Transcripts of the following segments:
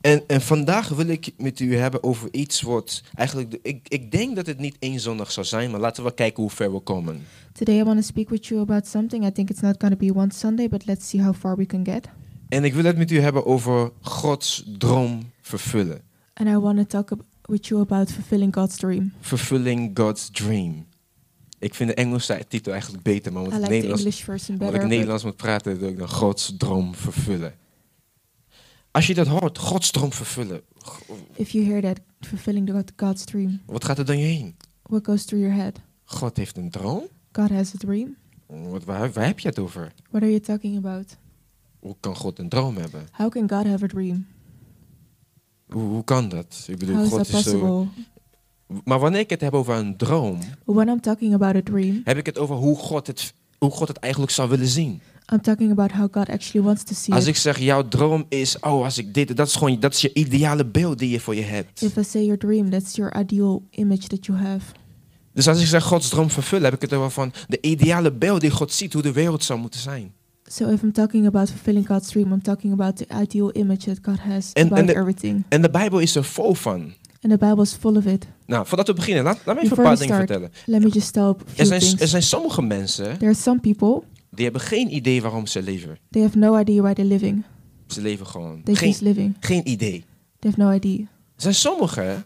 En, en vandaag wil ik het met u hebben over iets wat eigenlijk. de- Ik, ik denk dat het niet één zondag zal zijn, maar laten we kijken hoe ver we komen. Today, I want to speak with you about something. I think it's not going to be one Sunday, but let's see how far we can get. En ik wil het met u hebben over Gods droom vervullen. And I want to talk ab- with you about fulfilling God's dream. Fulfilling God's dream. Ik vind de Engelse titel eigenlijk beter, maar I omdat ik like Nederlands, the English version omdat better. ik but Nederlands moet praten, wil ik dan Gods droom vervullen. Als je dat hoort, Gods droom vervullen, g- If you hear that, fulfilling the God- God's dream, wat gaat er dan je heen? what goes through your head? God heeft een droom? God has a dream. Wat, waar, waar heb je het over? What are you talking about? Hoe kan God een droom hebben? How can God have a dream? Hoe, hoe kan dat? Ik bedoel, How is God that is zo. possible? Maar wanneer ik het heb over een droom, When I'm talking about a dream, heb ik het over hoe God het, hoe God het eigenlijk zou willen zien. I'm talking about how God actually wants to see Als it. ik zeg, jouw droom is, oh, als ik dit, dat is gewoon, dat is je ideale beeld die je voor je hebt. If I say your dream, that's your ideal image that you have. Dus als ik zeg Gods droom vervullen, heb ik het over van de ideale beeld die God ziet hoe de wereld zou moeten zijn. So if I'm talking about fulfilling God's dream, I'm talking about the ideal image that God has And- about and the- everything. En de Bijbel is er vol van. And the Bible is full of it. Nou, voordat we beginnen, laat, laat me even een Before paar we dingen start, vertellen. Let me just tell a few Er zijn, things. er zijn sommige mensen There are some people, die hebben geen idee waarom ze leven. they have no idea why they're living. Ze leven gewoon. They're Geen, just living. geen idee. They have no idea. Er zijn sommigen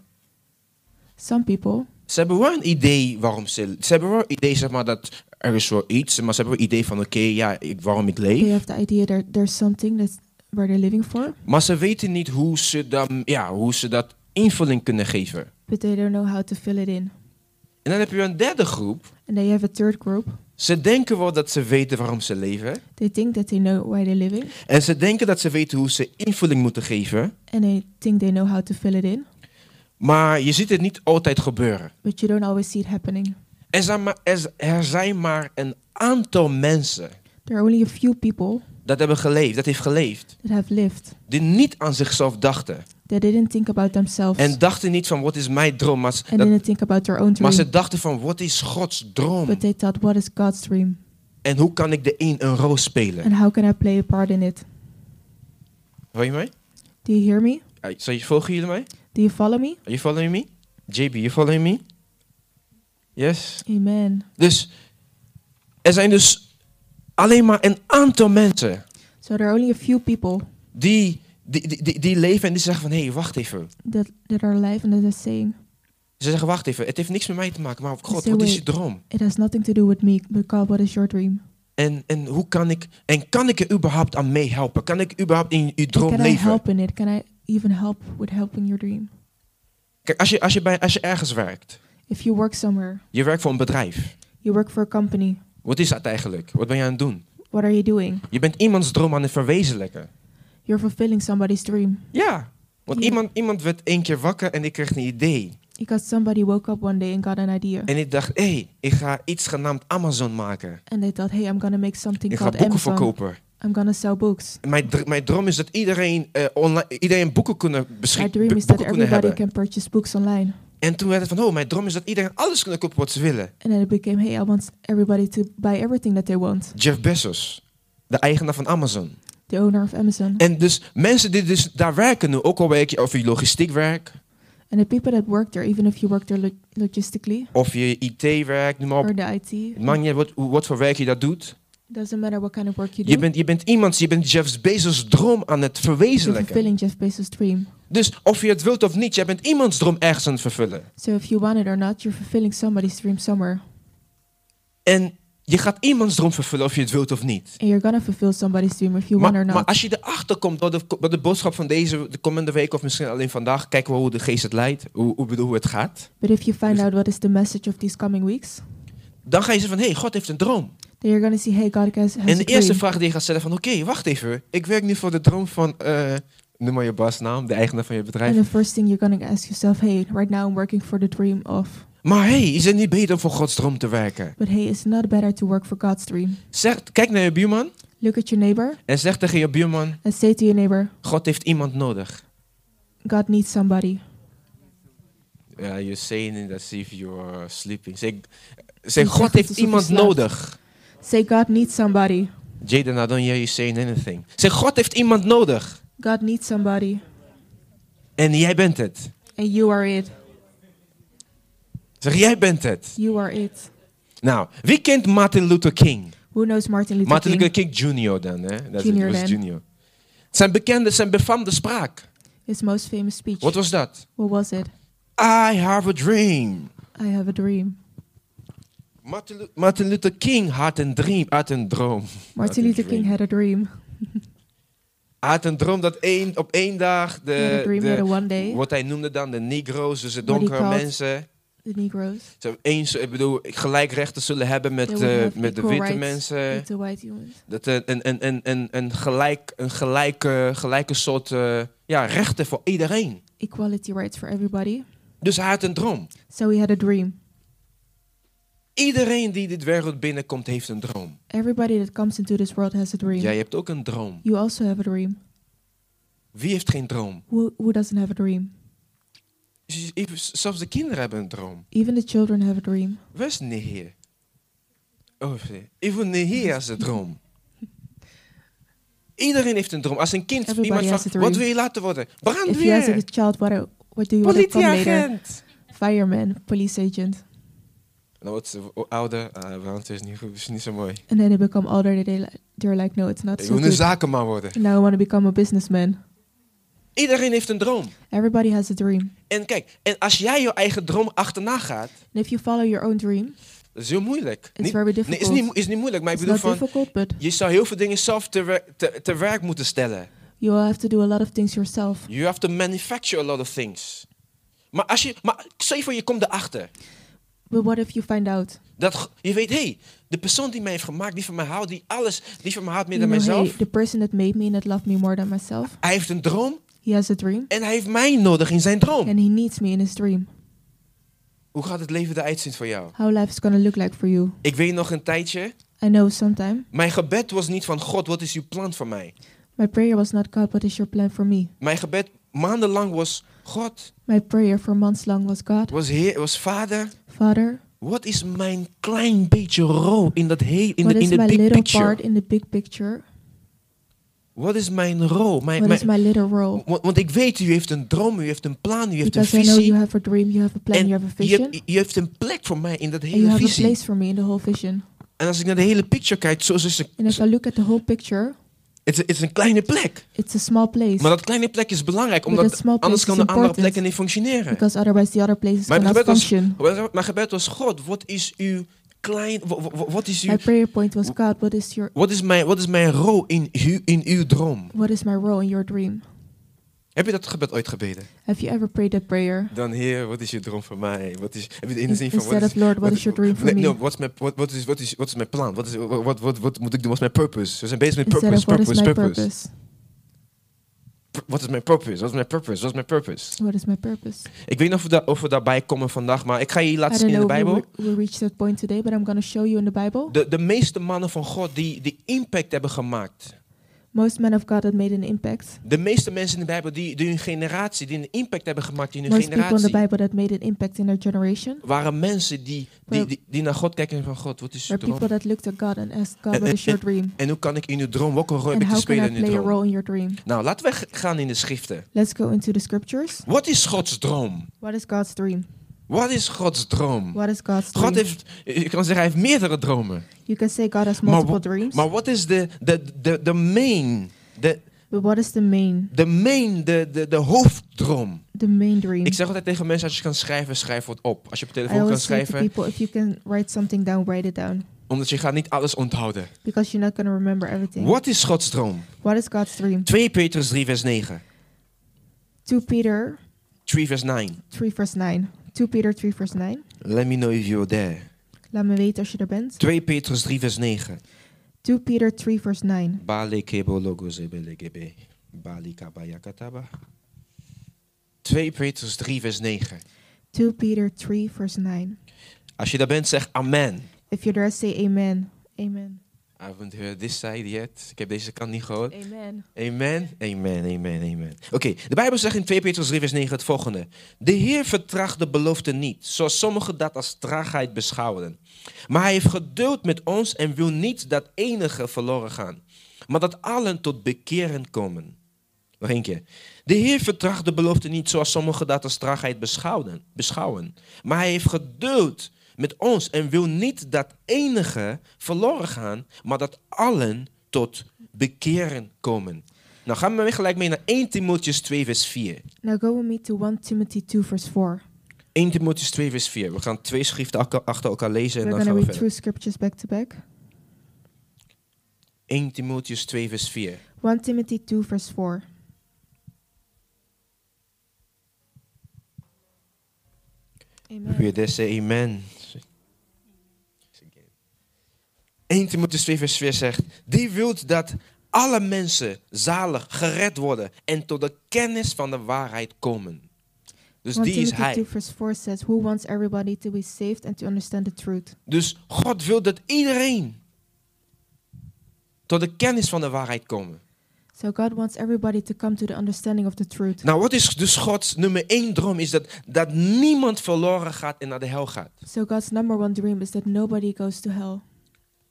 Some people, Ze hebben wel een idee waarom ze. Ze hebben wel een idee, zeg maar, dat er is wel iets. Maar ze hebben wel een idee van: oké, ja, ik, waarom ik leef. they have the idea that there's something that's where they're living for, Maar ze weten niet hoe ze, dan, ja, hoe ze dat invulling kunnen geven. but they don't know how to fill it in. En dan heb je een derde groep. And they have a third group. Ze denken wel dat ze weten waarom ze leven. They think that they know why they're living, En ze denken dat ze weten hoe ze invulling moeten geven. and they think they know how to fill it in, Maar je ziet het niet altijd gebeuren. but you don't always see it happening. Er zijn maar, er, er zijn maar een aantal mensen There are only a few people dat hebben geleefd, dat heeft geleefd. that have lived Die niet aan zichzelf dachten. They didn't think about themselves En dachten niet van wat is mijn droom. Maar ze- and dat- didn't think about their own Maar dream. ze dachten van, wat is Gods droom? But they thought, what Hmm. is God's dream? En hoe kan ik de een een rol spelen? And how can I play a part in it? Hoor je mij? Do you hear me? Eh, Sorry, volgen jullie mij? Do you follow me? Are you following me? JB, you following me? Yes? Amen. Dus, er zijn dus alleen maar een aantal mensen So there are only a few people die, die, die, die, die leven en die zeggen van, hé, hey, wacht even. that, that are alive and that are saying, Ze zeggen, wacht even, het heeft niks met mij te maken, maar God, Say wat is je wait. droom? it has nothing to do with me, but God, what is your dream? En, en hoe kan ik, en kan ik er überhaupt aan meehelpen? Kan ik überhaupt in uw And droom can I leven? help in it? Can I even help with helping your dream? Kijk, als je, als, je bij, als je ergens werkt, If you work somewhere, je werkt voor een bedrijf. you work for a company, Wat is dat eigenlijk? Wat ben je aan het doen? what are you doing? Je bent iemands droom aan het verwezenlijken. You're fulfilling somebody's dream. Ja, want Ja. Iemand, iemand werd één keer wakker en ik kreeg een idee. Because somebody woke up one day and got an idea. En ik dacht, hé, ik ga iets genaamd Amazon maken. And they thought, hey, I'm going to make something Ik ga called boeken Amazon. verkopen. I'm going to sell books. En Mijn, dr- mijn droom is dat iedereen, eh, online, iedereen boeken kunnen My beschikken. dream is Boeken that kunnen everybody hebben. can purchase books online. En toen werd het van, oh, mijn droom is dat iedereen alles kan kopen wat ze willen. And then it became, hey, I want everybody to buy everything that they want. Jeff Bezos, de eigenaar van Amazon. The owner of Amazon. En dus mensen die dus daar werken nu, ook al werk je of je logistiek werkt, And the people that work there, even if you work there lo- logistically of je IT werkt, noem maar op. or the IT, Het maakt niet uit wat, hoe- wat voor werk je dat doet. doesn't matter what kind of work you Je do, bent, je bent iemand, je bent Jeff Bezos' droom aan het you're verwezenlijken. fulfilling Jeff Bezos' dream. Dus of je het wilt of niet, jij bent iemands droom ergens aan het vervullen. So if you want it or not, you're fulfilling somebody's dream somewhere. En je gaat iemands droom vervullen of je het wilt of niet. And you're going to fulfill somebody's dream if you want or Maar, maar not. als je erachter komt door de, door de boodschap van deze de komende week of misschien alleen vandaag, kijken we hoe de geest het leidt, hoe, hoe, bedoel, hoe het gaat. But if you find Dus- out what is the message of these coming weeks, Dan ga je zeggen van, hé, hey, God heeft een droom. then you're going to see, hey, God has, En has de a eerste dream. vraag die je gaat stellen van, oké, wacht even. Ik werk nu voor de droom van, eh, noem maar je baasnaam, de eigenaar van je bedrijf. And the first thing you're going to ask yourself, hey, right now I'm working for the dream of... Maar hé, hey, is het niet beter om voor Gods droom te werken? But hey, it's not better to work for God's dream. Zeg, kijk naar je buurman Look at your neighbor en zeg tegen je buurman: and say to your neighbor, God heeft iemand nodig. God needs somebody. Ja, you're saying it as if you're sleeping. Zeg, zeg Je God zegt heeft alsof je iemand slaapt. nodig. Say, God needs somebody. Jaden, I don't hear you saying anything. Zeg, God heeft iemand nodig. God needs somebody. En jij bent het. And you are it. Zeg, jij bent het. You are it. Nou, wie kent Martin Luther King? Who knows Martin Luther Martin King? Luther King Jr. dan, hè? Dat Junior was dan. junior. Zijn bekende, zijn befaamde spraak. His most famous speech. Wat was dat? What was it? I have a dream. I have a dream. Martin, Lu- Martin Luther King had een dream, had een droom. Had Martin een Luther dream. King had a dream. Hij had een droom dat één, op één dag He had de, a dream that de- a one day wat hij noemde dan de negro's, dus de What he donkere called- mensen, the Negroes zo eens, ik bedoel, gelijk rechten zullen hebben met, They would eh, have met de equal witte rights mensen. with the white humans. Dat er een, een, een, een, een, gelijk, een gelijke, gelijke soort eh, ja, rechten voor iedereen. Equality rights for everybody. Dus hij had een droom. So he had a dream. Iedereen die dit wereld binnenkomt, heeft een droom. Everybody that comes into this world has a dream. Jij hebt ook een droom. You also have a dream. Wie heeft geen droom? Who, who doesn't have a dream? Z- even- Zelfs de kinderen hebben een droom. Even the children have a dream. Waar is Nehir? Oh, nee. even Nehir als een droom. Iedereen heeft een droom. Als een kind Everybody iemand has vraagt, a dream. wat wil je laten worden? If you ask a Brandweer, child what, I- what do you want to become later, politieagent. fireman, police agent, En dan wordt ze o- ouder. Ah, brandweer is niet, goed, is niet zo mooi. and then they become older, they- they li- they're like, no, it's not Ik so wil een good. zakenman worden. Now I want to become a businessman. Iedereen heeft een droom. Everybody has a dream, En kijk, en als jij je eigen droom achterna gaat, and if you follow your own dream, dat is heel moeilijk. it's Niet- very nee, difficult. is niet, mo- is niet moeilijk, maar ik it's bedoel not van, difficult, but je zou heel veel dingen zelf te, wer- te, te werk moeten stellen. you will have to do a lot of things yourself. You have to manufacture a lot of things. Maar als je, maar stel je voor, je komt erachter. But what if you find out? Dat, g- je weet, hé, hey, de persoon die mij heeft gemaakt, die van mij houdt, die alles, die van mij houdt meer you dan know, mijzelf. hey, the person that made me and that loved me more than myself, Hij heeft een droom he has a dream, en hij heeft mij nodig in zijn droom. and he needs me in his dream. Hoe gaat het leven eruit zien voor jou? How life is gonna look like for you? Ik weet nog een tijdje, I know sometime mijn gebed was niet van God, wat is uw plan voor mij? my prayer was not God, what is your plan for me? Mijn gebed maandenlang was, God, My prayer for months long was God, was, heer, was vader, Father, wat is mijn klein beetje rol in dat hele, in what de in is de my big little picture? part in the big picture? Wat is mijn rol? Mijn, What mijn- is my little role? want, want ik weet, u heeft een droom, u heeft een plan, u heeft Because een I know visie. you have a dream, you have a plan, en you have a je, vision, hebt- je hebt een plek voor mij in dat and you hele have a visie. place for me in the whole vision. En als ik naar de hele picture kijk, zo is het And if I look at the whole picture, het is- het is een kleine plek. it's a small place. Maar dat kleine plek is belangrijk, But that omdat small place anders is kan de andere important. plekken niet functioneren. Because otherwise the other places Mijn cannot gebed, was, function. mijn gebed was, God, wat is uw klein... wa- wa- wa- Wat is, My uw, prayer point was God, what is your wat is, mijn, wat is mijn rol in, uw- in uw droom? what is my role in your dream? Heb je dat gebed ooit gebeden? Have you ever prayed that prayer? Dan, Heer, wat is je droom voor mij? Wat is, heb je de In- inzien van... wat Instead is- of Lord, what is your dream for Nee, me? no, wat is mijn- wat- wat is- wat is- Wat is mijn plan? Wat is- Wat wat- wat- wat moet ik doen? Wat is mijn purpose? We zijn bezig met Instead purpose, of what is purpose, my purpose. purpose? Pur- Wat is mijn purpose? Wat is mijn purpose? Wat is mijn purpose? What is my purpose? Ik weet niet of we, da- of we daarbij komen vandaag, maar ik ga je I laten zien don't in know de if we Bijbel. re- we reached that point today, but I'm going to show you in the Bible. De, de meeste mannen van God die, die impact hebben gemaakt. Most men of God that made an impact. De meeste mensen in de Bijbel die, die hun generatie, die een impact hebben gemaakt in hun Most people in the generatie. Bible that made an impact in their generation waren mensen die, die, Wel- die, die naar God kijken en van God, wat is uw were people droom? that looked at God and asked God, En- what en- is your dream? En hoe kan ik in uw droom, welke rol heb And ik te how can I spelen in uw play a droom? role in your dream? Nou, laten we g- gaan in de schriften. Let's go into the scriptures. Wat is Gods droom? What is God's dream? Wat is Gods droom? What is God's God dream? heeft, je kan zeggen, hij heeft meerdere dromen. You can say God has Maar multiple wa- dreams, Maar wat is de, de, de, de main, de, but what is the main, de main, de, de, de hoofddroom? the main dream? Ik zeg altijd tegen mensen, als je kan schrijven, schrijf wat op. Als je op je I telefoon kan always say to schrijven, people, if you can write something down, write it down, omdat je gaat niet alles onthouden. because you're not going to remember everything. Wat is Gods droom? What is God's dream? 2 Petrus 3 vers 9. 2 Peter 3 vers 9. 3 vers 9. 2 Peter 3 vers 9. Let me know if you're there. Laat me weten als je er bent. 2 Petrus 3 vers 9. 2 Peter 3 vers 9. Bale kebo logos ebelegebe. Bali kabayakataba. 2 Petrus 3 vers 9. 2 Peter 3 vers 9. Als je daar bent, zeg amen. If you're there, say amen. Amen. I haven't heard this side yet. Ik heb deze kant niet gehoord. Amen. Amen, amen, amen, amen. Oké, de Bijbel zegt in 2 Petrus 3 vers 9 het volgende. De Heer vertraagt de belofte niet, zoals sommigen dat als traagheid beschouwen. Maar hij heeft geduld met ons en wil niet dat enige verloren gaan, maar dat allen tot bekeren komen. Nog één keer. De Heer vertracht de belofte niet zoals sommigen dat als traagheid beschouwen, beschouwen. Maar hij heeft geduld met ons en wil niet dat enige verloren gaan, maar dat allen tot bekeren komen. Nou gaan we gelijk mee naar 1 Timotheus 2 vers 4. Now go with me to 1 Timothy 2, verse 4. 1 Timotheus 2 vers 4. We gaan twee schriften elka- achter elkaar lezen en We're dan going to gaan we read verder. two scriptures back to back. 1 Timotheus 2 vers 4. 1 Timothy 2, verse 4. Amen. Weer deze amen. 1 Timotheus 2 vers 4 zegt, die wilt dat alle mensen zalig gered worden en tot de kennis van de waarheid komen. Dus 1 die is Timothy 2, hij. verse 4 says, Who wants everybody to be saved and to understand the truth? Dus God wil dat iedereen tot de kennis van de waarheid komen. So God wants everybody to come to the understanding of the truth. Nou, wat is dus Gods nummer één droom? Is dat, dat niemand verloren gaat en naar de hel gaat. So God's number one dream is that nobody goes to hell.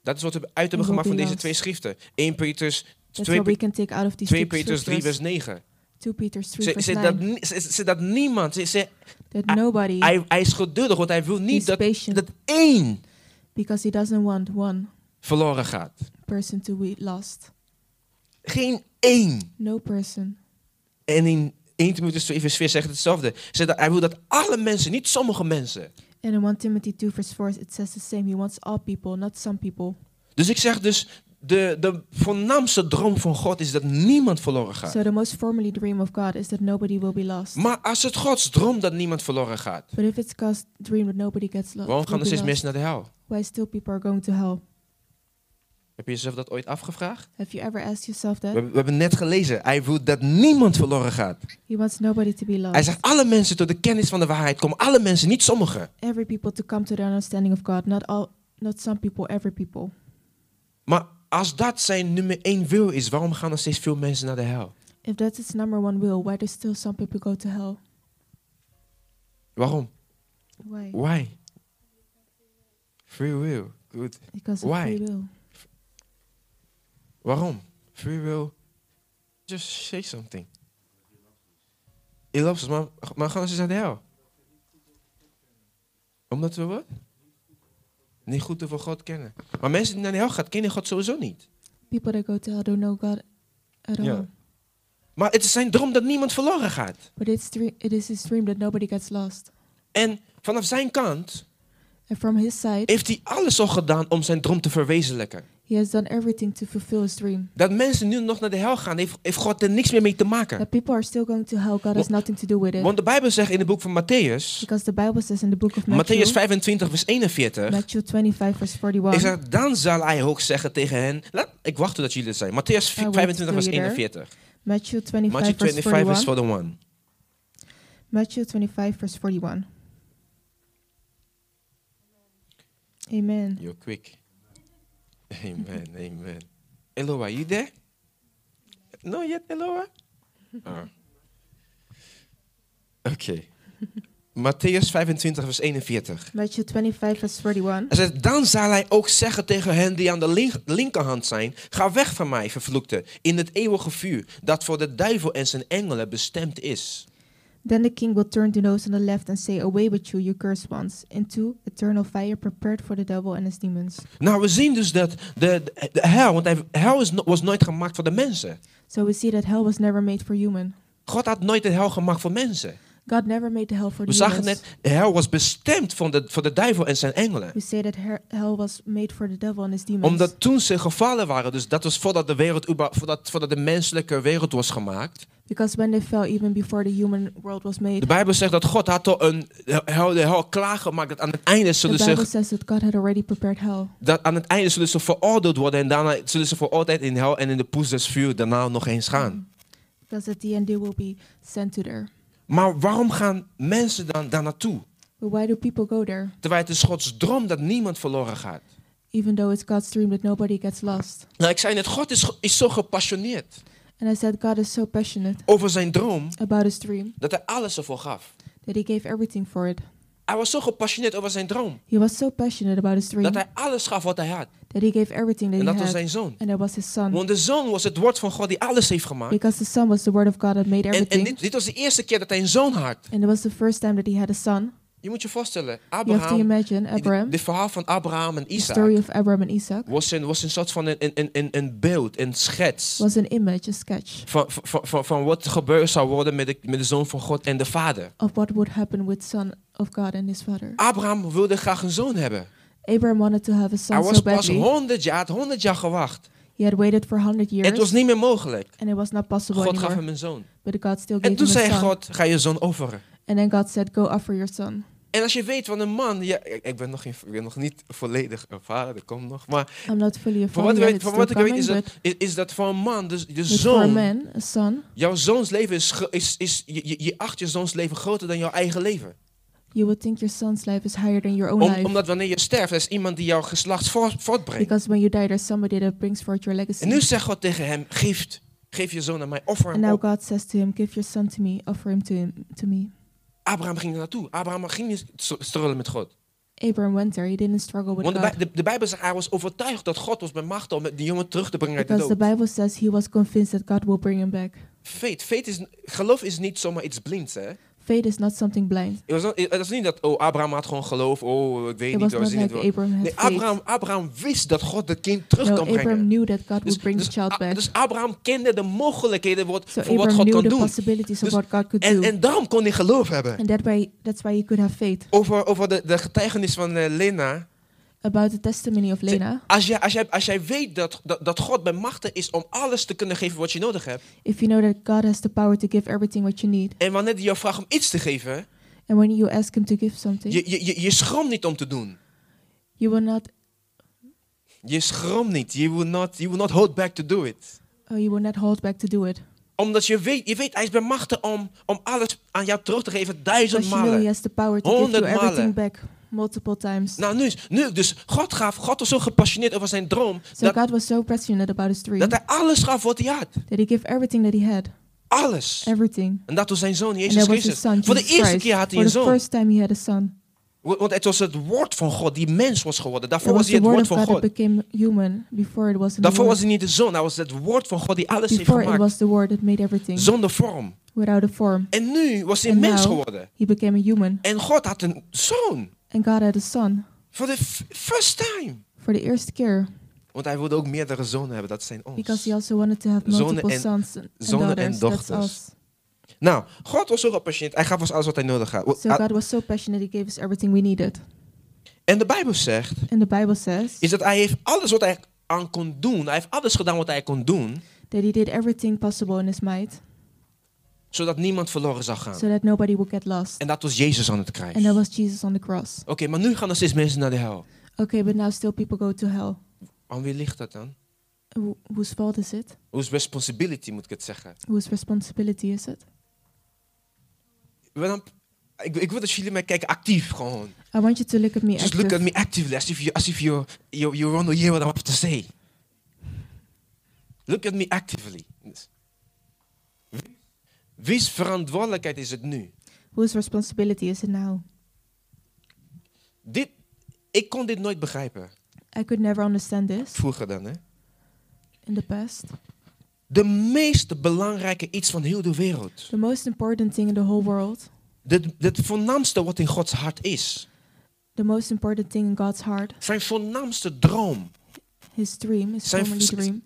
Dat is wat we uit hebben En gemaakt van deze Babylons. twee schriften. 1 Petrus, That's 2, what we can take out of these 2 two Petrus 3 vers scriptures. 9. 2 Peter 3, Ze, verse ze, dat, 9. ni- ze, ze- dat niemand. Ze, ze- That I- nobody, hij, hij is geduldig, want hij wil niet dat, He's patient. dat één because he doesn't want one verloren gaat. person to be lost. Geen één. No person. En in 1 Timotheus 2 vers 4 zegt hetzelfde. Ze, dat, hij wil dat alle mensen, niet sommige mensen. And in 1 Timothy 2, verse 4, it says the same. He wants all people, not some people. Dus ik zeg dus, de, de voornaamste droom van God is dat niemand verloren gaat. So the most formally dream of God is that nobody will be lost. Maar als het Gods droom dat niemand verloren gaat, But if it's God's dream that nobody gets lo- waarom will gaan er be steeds lost, mensen naar de hel? why still people are going to hell? Heb je jezelf dat ooit afgevraagd? Have you ever asked yourself We, that? hebben- we hebben net gelezen, hij wil dat niemand verloren gaat. He wants nobody to be lost. Hij zegt, alle mensen tot de kennis van de waarheid komen. Alle mensen, niet sommigen. every people to come to the understanding of God. Not all, not some people, every people. Maar als dat zijn nummer één wil is, waarom gaan er steeds veel mensen naar de hel? If that's its number one will, why do still some people go to hell? Waarom? Why? Why? Free will. Goed. Because of Why? free will. Waarom? Free will. Just say something. Je loopt ze, maar, maar gaan ze naar de hel? Omdat we wat? Niet goed over God kennen. Maar mensen die naar de hel gaan, kennen God sowieso niet. People that go to hell don't know God at all. Ja. Maar het is zijn droom dat niemand verloren gaat. But it's dream, it is his dream that nobody gets lost. En vanaf zijn kant And from his side, heeft hij alles al gedaan om zijn droom te verwezenlijken. he has done everything to fulfill his dream. Dat mensen nu nog naar de hel gaan, heeft, heeft God er niks meer mee te maken. That people are still going to hell. God has Wa- nothing to do with it. Want de Bijbel zegt in het boek van Matthäus, Because the Bible says in the book of Matthew, Matthäus 25, vers 41. Matthew 25, verse 41, Ik zeg, dan zal hij ook zeggen tegen hen, laat, ik wacht totdat jullie het zijn. Matthäus I wait 25, vers till you there. 41. Matthew 25, Matthew verse 25, vers 41, 41. Matthew 25, verse 41. Amen. You're quick. Amen, amen. Eloa, you there? No yet, Eloa? Ah. Oké. Matthäus 25, vers 41. Matthew 25, verse 41. Hij zegt, dan zal hij ook zeggen tegen hen die aan de link- linkerhand zijn, ga weg van mij, vervloekte, in het eeuwige vuur, dat voor de duivel en zijn engelen bestemd is. Then the king will turn to those on the left and say, Away with you, you cursed ones, into eternal fire prepared for the devil and his demons. Nou, we zien dus dat de, de, de hel, want hij- hel is, no- was nooit gemaakt voor de mensen. So we see that hell was never made for human. God had nooit de hel gemaakt voor mensen. God never made the hell for We the zagen humans. net, de hel was bestemd voor de, voor de duivel en zijn engelen. We say that her- hell was made for the devil and his demons. Omdat toen ze gevallen waren, dus dat was voordat de, wereld, uba- voordat, voordat de menselijke wereld was gemaakt. Because when they fell, even before the human world was De made, Bijbel zegt dat God had al een de hel, de hel klaargemaakt. Dat aan het einde the zullen ze Bible says that God had already prepared hell. dat aan het einde zullen ze veroordeeld worden en daarna zullen ze voor altijd in hel en in de poes des vuur daarna nog eens gaan. Because at the end, they will be sent to there. Maar waarom gaan mensen dan daar naartoe? But why do people go there? Terwijl het is Gods droom dat niemand verloren gaat. Even though it's God's dream that nobody gets lost. Nou, ik zei net, God is, is zo gepassioneerd And I said, God is so passionate over zijn droom about his dream dat hij alles ervoor gaf. that he gave everything for it. Hij was zo gepassioneerd over zijn droom. He was so passionate about his dream Dat hij alles gaf wat hij had. that he gave everything that En dat he was had, zijn zoon. and that was his son. Want de zoon was het woord van God die alles heeft gemaakt. Because the son was the word of God that made En, en everything, dit, dit was de eerste keer dat hij een zoon had. and it was the first time that he had a son. Je moet je voorstellen, You have to Abraham, imagine Abraham, dit verhaal van Abraham en the story Isaac of Abraham and Isaac was een, was een soort van een, een, een, een beeld, een schets was an image, a sketch van, van, van, van wat gebeurd zou worden met de, met de zoon van God en de vader. of what would happen with son of God and his father. Abraham wilde graag een zoon hebben. Abraham wanted to have a Hij son was so pas badly. 100 jaar, had 100 jaar gewacht. He had waited for 100 En het was years, niet meer mogelijk. and it was not possible God gaf anymore. hem een zoon. But God still En gave him toen a zei son. God, ga je zoon offeren. And then God said, Go offer your son. En als je weet van een man, ja, ik ik ben nog, geen, ik ben nog niet volledig ervaren, dat komt nog. Maar I'm not fully a van wat, father ik weet, yet, it's van still wat ik weet coming, is dat, but, is, is dat voor een man, dus de but for a zoon, man, a son, jouw zoons leven is, gro- is, is je, je- je acht je zoons leven groter dan jouw eigen leven. you would think your son's life is higher than your own Om- life. omdat wanneer je sterft, er is iemand die jouw geslacht voort- voortbrengt. Because when you die, there's somebody that brings forth your legacy. En nu zegt God tegen hem, geef, geef je zoon aan mij, offer And hem now op. God says to him, Give your son to me, offer him to, him to me. Abraham ging er naartoe. Abraham ging niet str- strullen met God. Abraham went there, he didn't struggle with Want de, God. Bij- de, de Bijbel zegt, hij was overtuigd dat God was bij macht om die jongen terug te brengen uit de Because the dood. Bible says he was convinced that God will bring him back. Feit, feit is, geloof is niet zomaar iets blinds, hè. Faith is not something blind. Het was, niet- het was niet dat, oh, Abraham had gewoon geloof, oh, ik weet It niet, was we not zien het like wel. Abraham had Nee, faith. Abraham, Abraham wist dat God het kind terug No, kan Abraham brengen. knew that Dus, God would bring the dus, child A- back. dus Abraham kende de mogelijkheden wat, So voor wat Abraham God knew kan the doen. possibilities of Dus- what God could En, do. en daarom kon hij geloof hebben. And that way, that's why he could have faith. Over, over de, de getuigenis van eh, Lena. About the testimony of Ze- Lena, Als jij, als jij, als jij weet dat, dat, dat God bij machten is om alles te kunnen geven wat je nodig hebt. if you know that God has the power to give everything what you need, En wanneer hij jou vraagt om iets te geven, and when you ask Him to give something, je, je, je, je schroomt niet om te doen. you will not, Je schroomt niet. You will, not, you will not hold back to do it. uh, you will not hold back to do it. Omdat je weet, je weet hij is bij machten om, om alles aan jou terug te geven duizend Because you know He malen. has the power to give you Honderd everything malen. back multiple times. Nou, nu, is- nu dus, God gaf, God was zo gepassioneerd over zijn droom, So dat, God was so passionate about His dream dat hij alles gaf wat hij had. that He gave everything that He had, Alles. everything. En dat was zijn zoon, And Jezus that was His Christus. son, Voor de Jesus eerste Christ. keer had hij For een the zoon. first time He had a son. Wa- Want het was het woord van God die mens was geworden. It Daarvoor was was hij the het Word woord of van God that God. became human. Before it wasn't. the Daarvoor was Word. hij niet de zoon, hij was het woord van God die alles heeft Before it gemaakt. was the Word that made everything Zonder vorm. without a form. En nou- nu was hij And mens now- geworden. He became a human, En God had een zoon. and God had a son Voor de f- first time. for the eerste keer. Want hij wilde ook meerdere zonen hebben, dat zijn Because ons. he also wanted to have Zonen multiple en- sons and zonen en daughters. dochters. That's us. Nou, God was zo gepassioneerd. Hij gaf ons alles wat hij nodig had. So God was so passionate, he gave us everything we needed. En de Bijbel zegt, And the Bible says is dat hij heeft alles wat hij aan kon doen. Hij heeft alles gedaan wat hij kon doen, that he did everything possible in his might zodat niemand verloren zou gaan. so that nobody would get lost. En dat was Jezus aan het kruis. And that Oké, was Jesus on the cross. maar nu gaan er steeds mensen naar de hel. Okay, but now still people go to hell. Aan wie ligt dat dan? Wh- whose fault is it? Whose responsibility moet ik het zeggen? Whose responsibility is it? We dan- Ik, ik wil dat jullie mij kijken actief gewoon. I want you to look at me Just look at me active. actively, as if you, as if you, you, you want to hear what I'm about to say. Look at me actively. Wie- Wie's verantwoordelijkheid is het nu? Whose responsibility is it now? Dit, ik kon dit nooit begrijpen. I could never understand this Vroeger dan, hè? in the past. De meest belangrijke iets van heel de wereld. The most important thing in the whole world, Het, het voornaamste wat in Gods hart is. the most important thing in God's heart, Zijn voornaamste droom. his dream, his Zijn- family dream,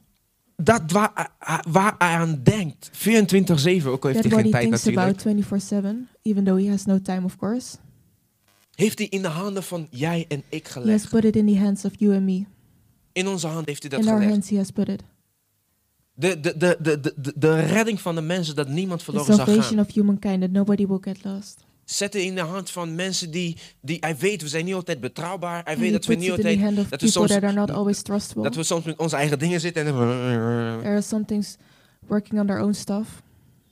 Dat waar, hij- waar hij aan denkt. 24-7, ook al heeft that hij what geen he tijd thinks about natuurlijk. 24 7, even though he has no time, of course. Heeft hij in de handen van jij en ik He has gelegd. put it in the hands of you and me. In onze hand heeft hij dat in our gelegd. hands, he has put it. De, de, de, de, de- de, de redding van de mensen dat niemand The verloren zou salvation gaan. of humankind, that nobody will get lost. Zet het in de hand van mensen die, die... Hij weet, we zijn niet altijd betrouwbaar. Hij And weet he dat we puts niet it in the altijd... hand of dat we people soms- that are not always trustful. Dat we soms met onze eigen dingen zitten en... There are some things working on their own stuff,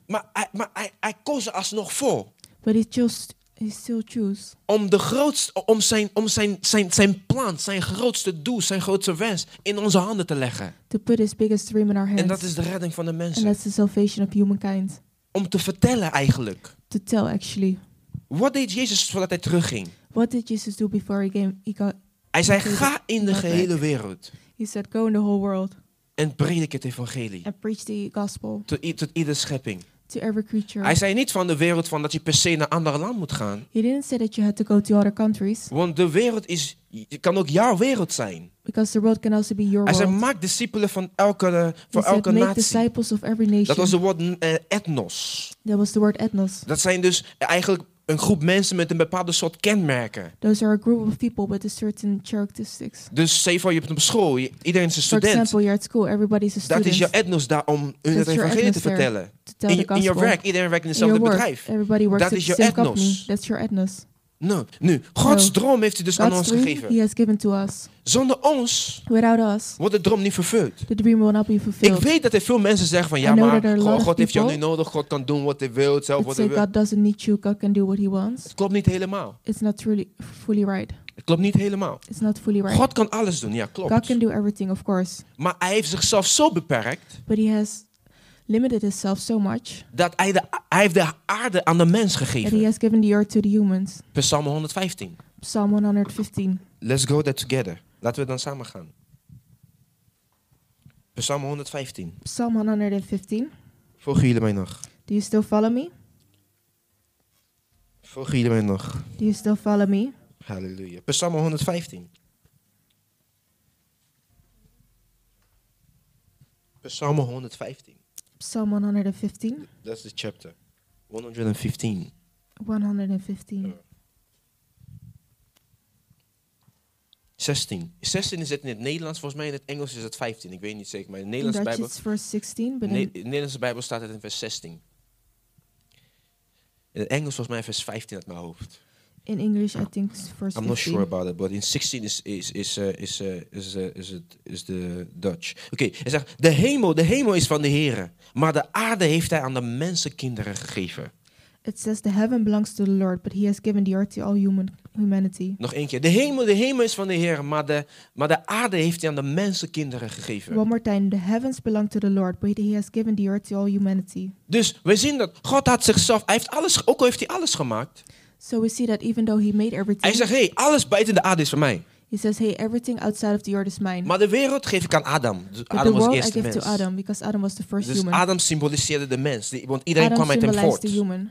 Maar, hij, maar hij, hij koos er alsnog voor. but he just he still choose Om, de grootste, om, zijn, om zijn, zijn, zijn plan, zijn grootste doel, zijn grootste wens in onze handen te leggen. to put his biggest dream in our hands, En dat is de redding van de and mensen. that's the salvation of humankind. Om te vertellen eigenlijk. To tell actually Wat deed Jezus voordat hij terugging? What did Jesus do before he came? He, got, Hij zei, Natuurlijk. ga in de Dat gehele wereld he said, "Go in the whole world en predik het evangelie. and preach the gospel Tot, i- tot iedere schepping. to every creature." Hij zei niet van de wereld van dat je per se naar een ander land moet gaan. He didn't say that you had to go to other countries Want de wereld is, je- kan ook jouw wereld zijn. because the world can also be your Hij zei, world. maak discipelen van elke, eh, He voor said, elke "Make natie. disciples of every nation." Dat was het woord eh, etnos. That was the word ethnos. Dat zijn dus eigenlijk een groep mensen met een bepaalde soort kenmerken. Those are a group of people with a certain characteristics. Dus stel je voor, je hebt op school, je- iedereen is een For student. example, you're at school. Everybody's a Dat student. is jouw etnos daar om hun het That's your evangelie te etnos there. vertellen. to tell In, the je- in gospel. je werk, iedereen werkt in In your hetzelfde work, bedrijf. everybody works Dat at is the je same etnos. company. That's your ethnos. Nou, nu, Gods droom heeft hij dus aan God's ons dream gegeven. He has given to us. Zonder ons Without us, wordt de droom niet vervuld. the dream will not be Ik fulfilled. weet dat er veel mensen zeggen van I ja, know maar that there are a lot God, of God heeft jou niet people nodig, God kan doen wat hij wil, zelf That wat say hij wil. God doesn't need you. God can do what He wants. Het klopt niet helemaal. It's not truly fully right. Het klopt niet helemaal. It's not fully right. God kan alles doen, ja God klopt. can do everything, of course, Maar hij heeft zichzelf zo beperkt but He has limited Himself so much dat hij, de, hij heeft de aarde aan de mens that He gegeven. has given the earth to the humans. Per Psalm 115. Psalm 115. Let's go there together. Laten we dan samen gaan. Per Psalm 115. Psalm 115. Volgen jullie mij nog? Do you still follow me? Volgen jullie mij nog? Do you still follow me? Halleluja. Per Psalm 115. Per Psalm 115. Psalm 115. That's the chapter. 115. 115. 16. 16 is het in het Nederlands, volgens mij in het Engels is het 15. Ik weet niet zeker, maar in de In Nederlandse Dutch Bijbel, it's verse 16, but Ne- in in, de Nederlandse Bijbel staat het in vers 16. In het Engels volgens mij vers 15 uit mijn hoofd. in English I think it's verse I'm not sure 15. about it, but in 16 is, is, is, eh, is, eh, is, eh, is, het is de Dutch. Oké, hij zegt, de hemel, de hemel is van de Heer, maar de aarde heeft hij aan de mensenkinderen gegeven. It says the heaven belongs to the Lord, but he has given the earth to all human humanity. Nog één keer. De hemel, de hemel is van de Heer, maar de, maar de aarde heeft hij aan de mensenkinderen gegeven. One more time, the heavens belong to the Lord, but he has given the earth to all humanity. Dus we zien dat God had zichzelf, hij heeft alles, ook al heeft hij alles gemaakt. So we see that even though he made everything, Hij zegt, hé, hey, alles buiten de aarde is van mij. he says, "Hey, everything outside of the earth is mine." Maar de wereld geef ik aan Adam. Dus But the Adam was de world I eerste give mens. to Adam because Adam was the first Dus human. Adam symboliseerde de mens, die- want iedereen Adam kwam uit hem symbolized voort. the human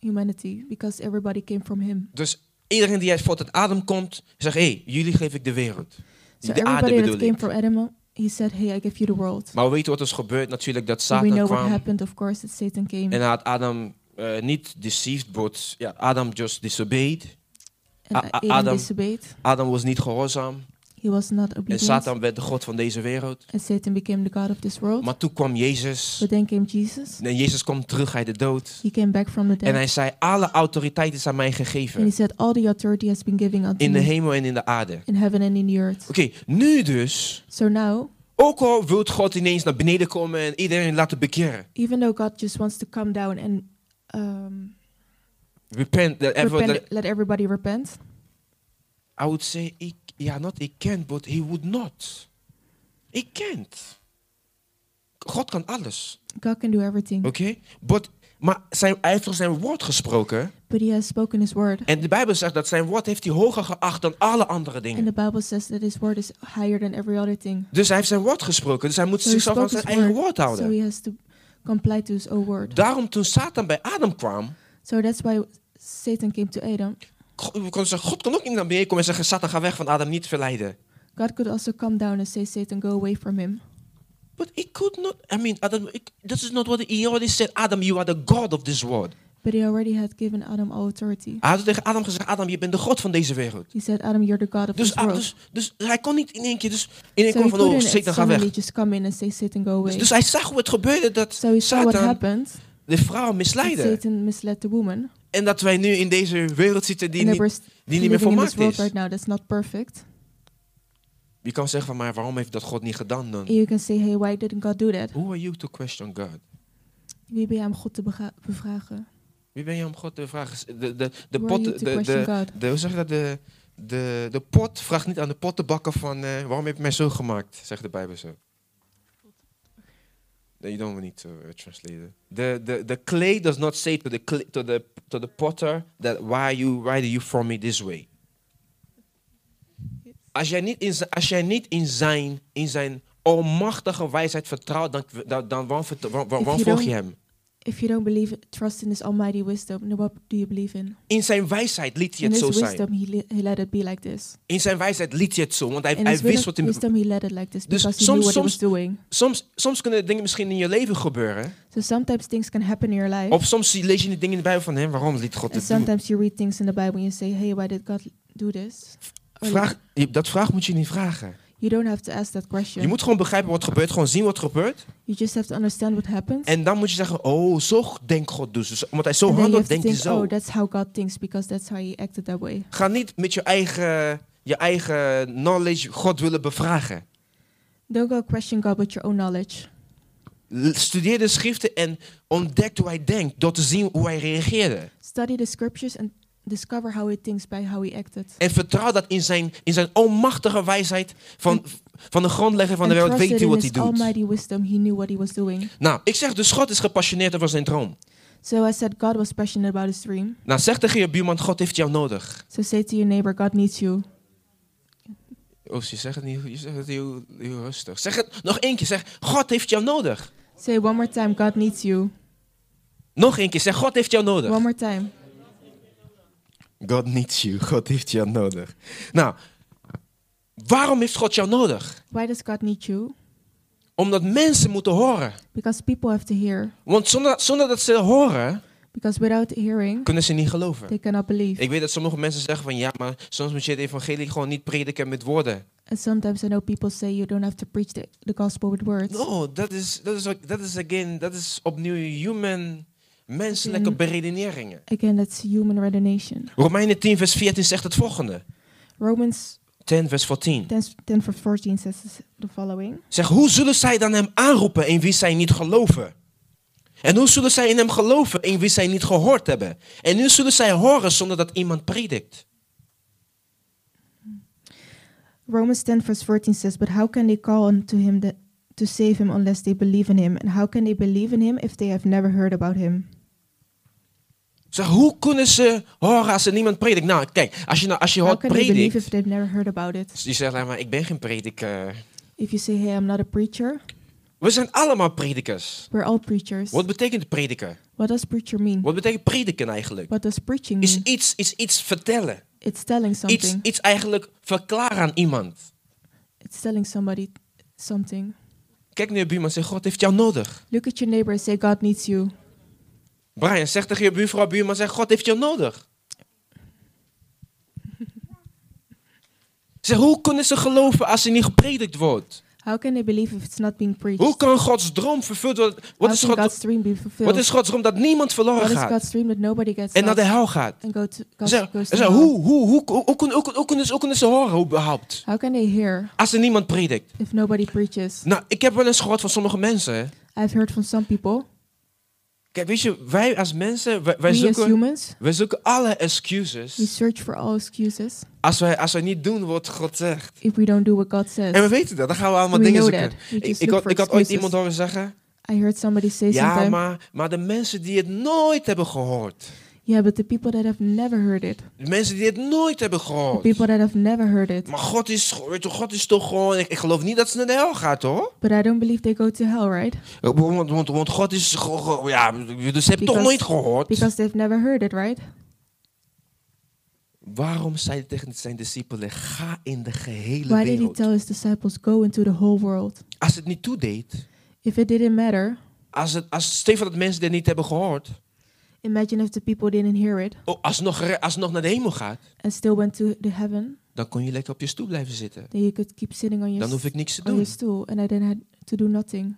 humanity because everybody came from him. Dus iedereen die uit voort uit Adam komt, zegt, hé, hey, jullie geef ik de wereld. So de aarde everybody that bedoel came ik. from Adam, he said, "Hey, I give you the world." Maar we weten wat is gebeurd natuurlijk, dat So we Satan uh, know what kwam happened, of course, that Satan came en hij had Adam eh, niet deceived, but ja, Adam just disobeyed. and A- A- Adam, Adam- disobeyed. Adam was niet gehoorzaam He was not en obedient, Satan werd de god van deze wereld. and Satan became the god of this world. Maar toen kwam Jezus But then came Jesus. en Jezus kwam terug uit de dood. He came back from the dead, En hij zei, alle autoriteit is aan mij and he gegeven. said, "All the authority has been given unto In de me hemel en in de aarde. Oké, in heaven and in the earth." nu dus, So now, ook al wilt God ineens naar beneden komen en iedereen laten bekeren. even though God just wants to come down and um, Repent, that everyone, repent, let everybody repent, I would say, he, yeah, not he can't, but he would not. He can't. God kan alles, God can do everything. oké? But- Maar zijn, hij heeft door zijn woord gesproken. But He has spoken His word, En de Bijbel zegt dat zijn woord heeft hij hoger geacht dan alle andere dingen. and the Bible says that His word is higher than every other thing. Dus hij heeft zijn woord gesproken. Dus hij moet So he zichzelf aan spoke zijn His eigen woord word, so houden. He has to comply to His own word. Daarom toen Satan bij Adam kwam, So that's why Satan came to Adam. God- we konden zeggen, God kan ook niet naar beneden komen en zeggen, Satan ga weg van Adam, niet verleiden. God could also come down and say, Satan, go away from him. But he could not, I mean, Adam, it- this is not what he, he already said, Adam, you are the God of this world. But he already had given Adam all authority. Hij had tegen Adam gezegd, Adam, je bent de God van deze wereld. He said, Adam, you're the God of Dus, this world. dus, dus hij kon niet in één keer, dus in één so keer he van, oh, couldn't Satan ga weg. suddenly just come in and say, Satan, go Dus, away. dus hij zag hoe het gebeurde dat so he saw what Satan happened. de vrouw that misleidde. Satan misled the woman. En dat wij nu in deze wereld zitten die and that niet, we're st- die niet meer living in volmaakt this world is. right now that's not perfect. Je kan zeggen van, maar waarom heeft dat God niet gedaan dan? And you can say, hey, why didn't God do that? Who are you to question God? Wie ben jij om God te bega- bevragen? Wie ben je om God te vragen? De, de, de, Who pot, are you de, to de, question God? de- hoe zeg je dat? De, de, de pot vraagt niet aan de pottenbakker van eh, waarom heb je mij zo gemaakt, zegt de Bijbel zo. You don't need to uh, translate it. The, the, the clay does not say to the, clay, to the, to the potter that why, you, why do you form me this way? Als jij niet in, zi- als jij niet in, zijn, in zijn almachtige wijsheid vertrouwt, dan, dan, dan waarom, vert- waarom, waarom If you volg je don't- hem? If you don't believe, trust in His almighty wisdom, then what do you believe in? In zijn wijsheid liet hij In het His zo zijn. wisdom, he, li- he let it be like this. In zijn wijsheid liet hij het zo, want hij, In hij His wist wi- wat hij... wisdom, he let it like this Dus because he soms- knew what he soms- was doing. Soms, soms kunnen dingen misschien in je leven gebeuren. So sometimes things can happen in your life. Of soms lees je die dingen in de Bijbel van hem, waarom liet God And het doen? sometimes you read things in the Bible and you say, hey, why did God do this? Or you- Vraag, je- dat vraag moet je niet vragen. You don't have to ask that Je question. moet gewoon begrijpen wat gebeurt, gewoon zien wat gebeurt. You just have to understand what happens. En dan moet je zeggen, oh, zo denkt God dus. Dus Omdat hij zo And then you handelt, have to denk je think, zo. oh, that's how God thinks because that's how he acted that way. Ga niet met je eigen, je eigen knowledge God willen bevragen. Don't go question God with your own knowledge. L- Studeer de schriften en ontdek hoe hij denkt door te zien hoe hij reageerde. Study the scriptures and discover how he thinks by how he acted. En vertrouw dat in zijn, in zijn almachtige wijsheid van, van de grondlegger van de and wereld trusted weet hij in wat hij his doet. almighty wisdom, he knew what he was doing. Nou, ik zeg dus God is gepassioneerd over zijn droom. So I said God was passionate about his dream. Nou, zeg tegen je buurman, God heeft jou nodig. So say to your neighbor, God needs you. Oh, je zegt het niet, je zegt het heel, heel rustig. Zeg het nog één keer, zeg God heeft jou nodig. Say one more time, God needs you. Nog één keer, zeg God heeft jou nodig. One more time. God needs you, God heeft jou nodig. Nou, waarom heeft God jou nodig? Why does God need you? Omdat mensen moeten horen. Because people have to hear. Want zonder, zonder dat ze horen, Because without hearing, kunnen ze niet geloven. they cannot believe. Ik weet dat sommige mensen zeggen van ja, maar soms moet je het evangelie gewoon niet prediken met woorden. And sometimes I know people say you don't have to preach the, the gospel with words. No, dat is, dat is, ook- dat is again, dat is opnieuw human, menselijke Mm. beredeneringen. Again, that's human redenation. Romeinen 10 vers 14 zegt het volgende. Romans 10 vers 14. 10, 10 verse 14 says the following. Zeg, hoe zullen zij dan hem aanroepen in wie zij niet geloven? En hoe zullen zij in hem geloven in wie zij niet gehoord hebben? En nu zullen zij horen zonder dat iemand predikt. Romans 10 verse 14 says, But how can they call on to him that, to save him unless they believe in him? And how can they believe in him if they have never heard about him? Zeg, hoe kunnen ze horen als er niemand predikt? Nou, kijk, als je, nou, als je How hoort can they believe predikt, if they've never heard about it? je zegt, "Nou, maar ik ben geen prediker. If you say, Hey, I'm not a preacher, We zijn allemaal predikers. we're all preachers. Wat betekent prediken? What does preacher mean? Wat betekent prediken eigenlijk? What does preaching Is mean? iets, is iets vertellen. It's telling Iets, something. iets eigenlijk verklaren aan iemand. It's telling somebody something. Kijk naar je buurman en zeg, God heeft jou nodig. Look at your neighbor and say, God needs you. Brian, zeg tegen je buurvrouw, buurman, zeg, God heeft jou nodig. Zeg, hoe kunnen ze geloven als er niet gepredikt wordt? How can they believe if it's not being preached? Hoe kan Gods droom vervuld worden? Wat How is, can God, God's dream be fulfilled? wat is Gods droom dat niemand verloren What is gaat God's dream that nobody gets en naar lost de hel gaat? and go to, goes, Zeg, goes to zeg, hell? hoe, hoe, hoe, hoe, hoe, kunnen- hoe, kunnen- hoe kunnen ze, hoe kunnen ze horen überhaupt? How can they hear Als er niemand predikt. if nobody preaches? Nou, ik heb wel eens gehoord van sommige mensen. hè. I've heard from some people. Kijk, weet je, wij als mensen, wij, wij we as zoeken, humans, wij zoeken alle we excuses search for all excuses als wij, als wij niet doen wat God zegt. if we don't do what God says. En we weten dat, dan gaan we allemaal We dingen know zoeken. that. We Ik, just ik look had, for ik had ooit excuses. iemand horen zeggen, I heard somebody say ja, sometime, maar, maar de mensen die het nooit hebben gehoord, yeah, but the people that have never heard it, de mensen die het nooit hebben the gehoord, people that have never heard it, maar God is, go- weet je, God is toch gewoon, ik, ik geloof niet dat ze naar de hel gaat hoor. Eh, but I don't believe they go to hell, right? Want, want, want God is, go- go- ja, dus ze hebben toch Because- nooit gehoord. Because they've never heard it, right? Waarom zei hij tegen zijn discipelen, ga in de gehele Why did he wereld. tell his disciples, go into the whole world? Als het niet toedeed, If it didn't matter, als, het, als Stefan dat mensen dit niet hebben gehoord, imagine if the people didn't hear it oh, alsnog, re- alsnog naar de hemel gaat, and still went to the heaven, dan kon je lekker op je stoel blijven zitten. then you could keep sitting on your, Dan s- hoef ik niks te on your doen. stool and I didn't have to do nothing.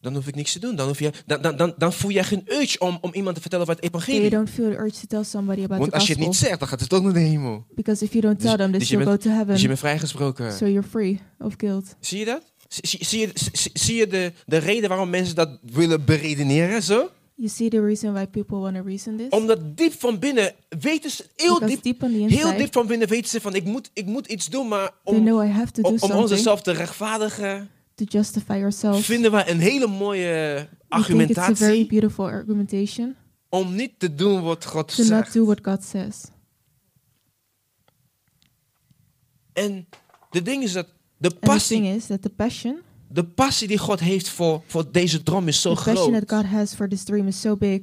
Dan hoef ik niks te doen. Dan, hoef je, dan, dan, dan, dan voel jij geen urge om, om iemand te vertellen wat het So you evangelie don't feel the urge to tell somebody about Want the als je het gospel. niet zegt, dan gaat het ook naar de hemel. Because if you don't Dus- tell them, they dus je still go to Dus je heaven. bent vrijgesproken. So you're free of guilt. Zie je dat? Zie, zie- zie je, zie, zie je de, de reden waarom mensen dat willen beredeneren? Zo? You see the reason why people want to reason this? Omdat diep van binnen weten ze, heel Because diep, deep on the heel diep inside, van binnen weten ze van ik moet, ik moet iets doen, maar they om, know I have om, to do om something onszelf te rechtvaardigen, to justify ourselves. vinden we een hele mooie We think it's a very argumentatie beautiful argumentation om niet te doen wat God to not zegt. do what God says. En de ding is dat de And the thing passie, is that the passion, de passie die God heeft voor, voor deze droom is zo the passion that groot God has for this dream is so big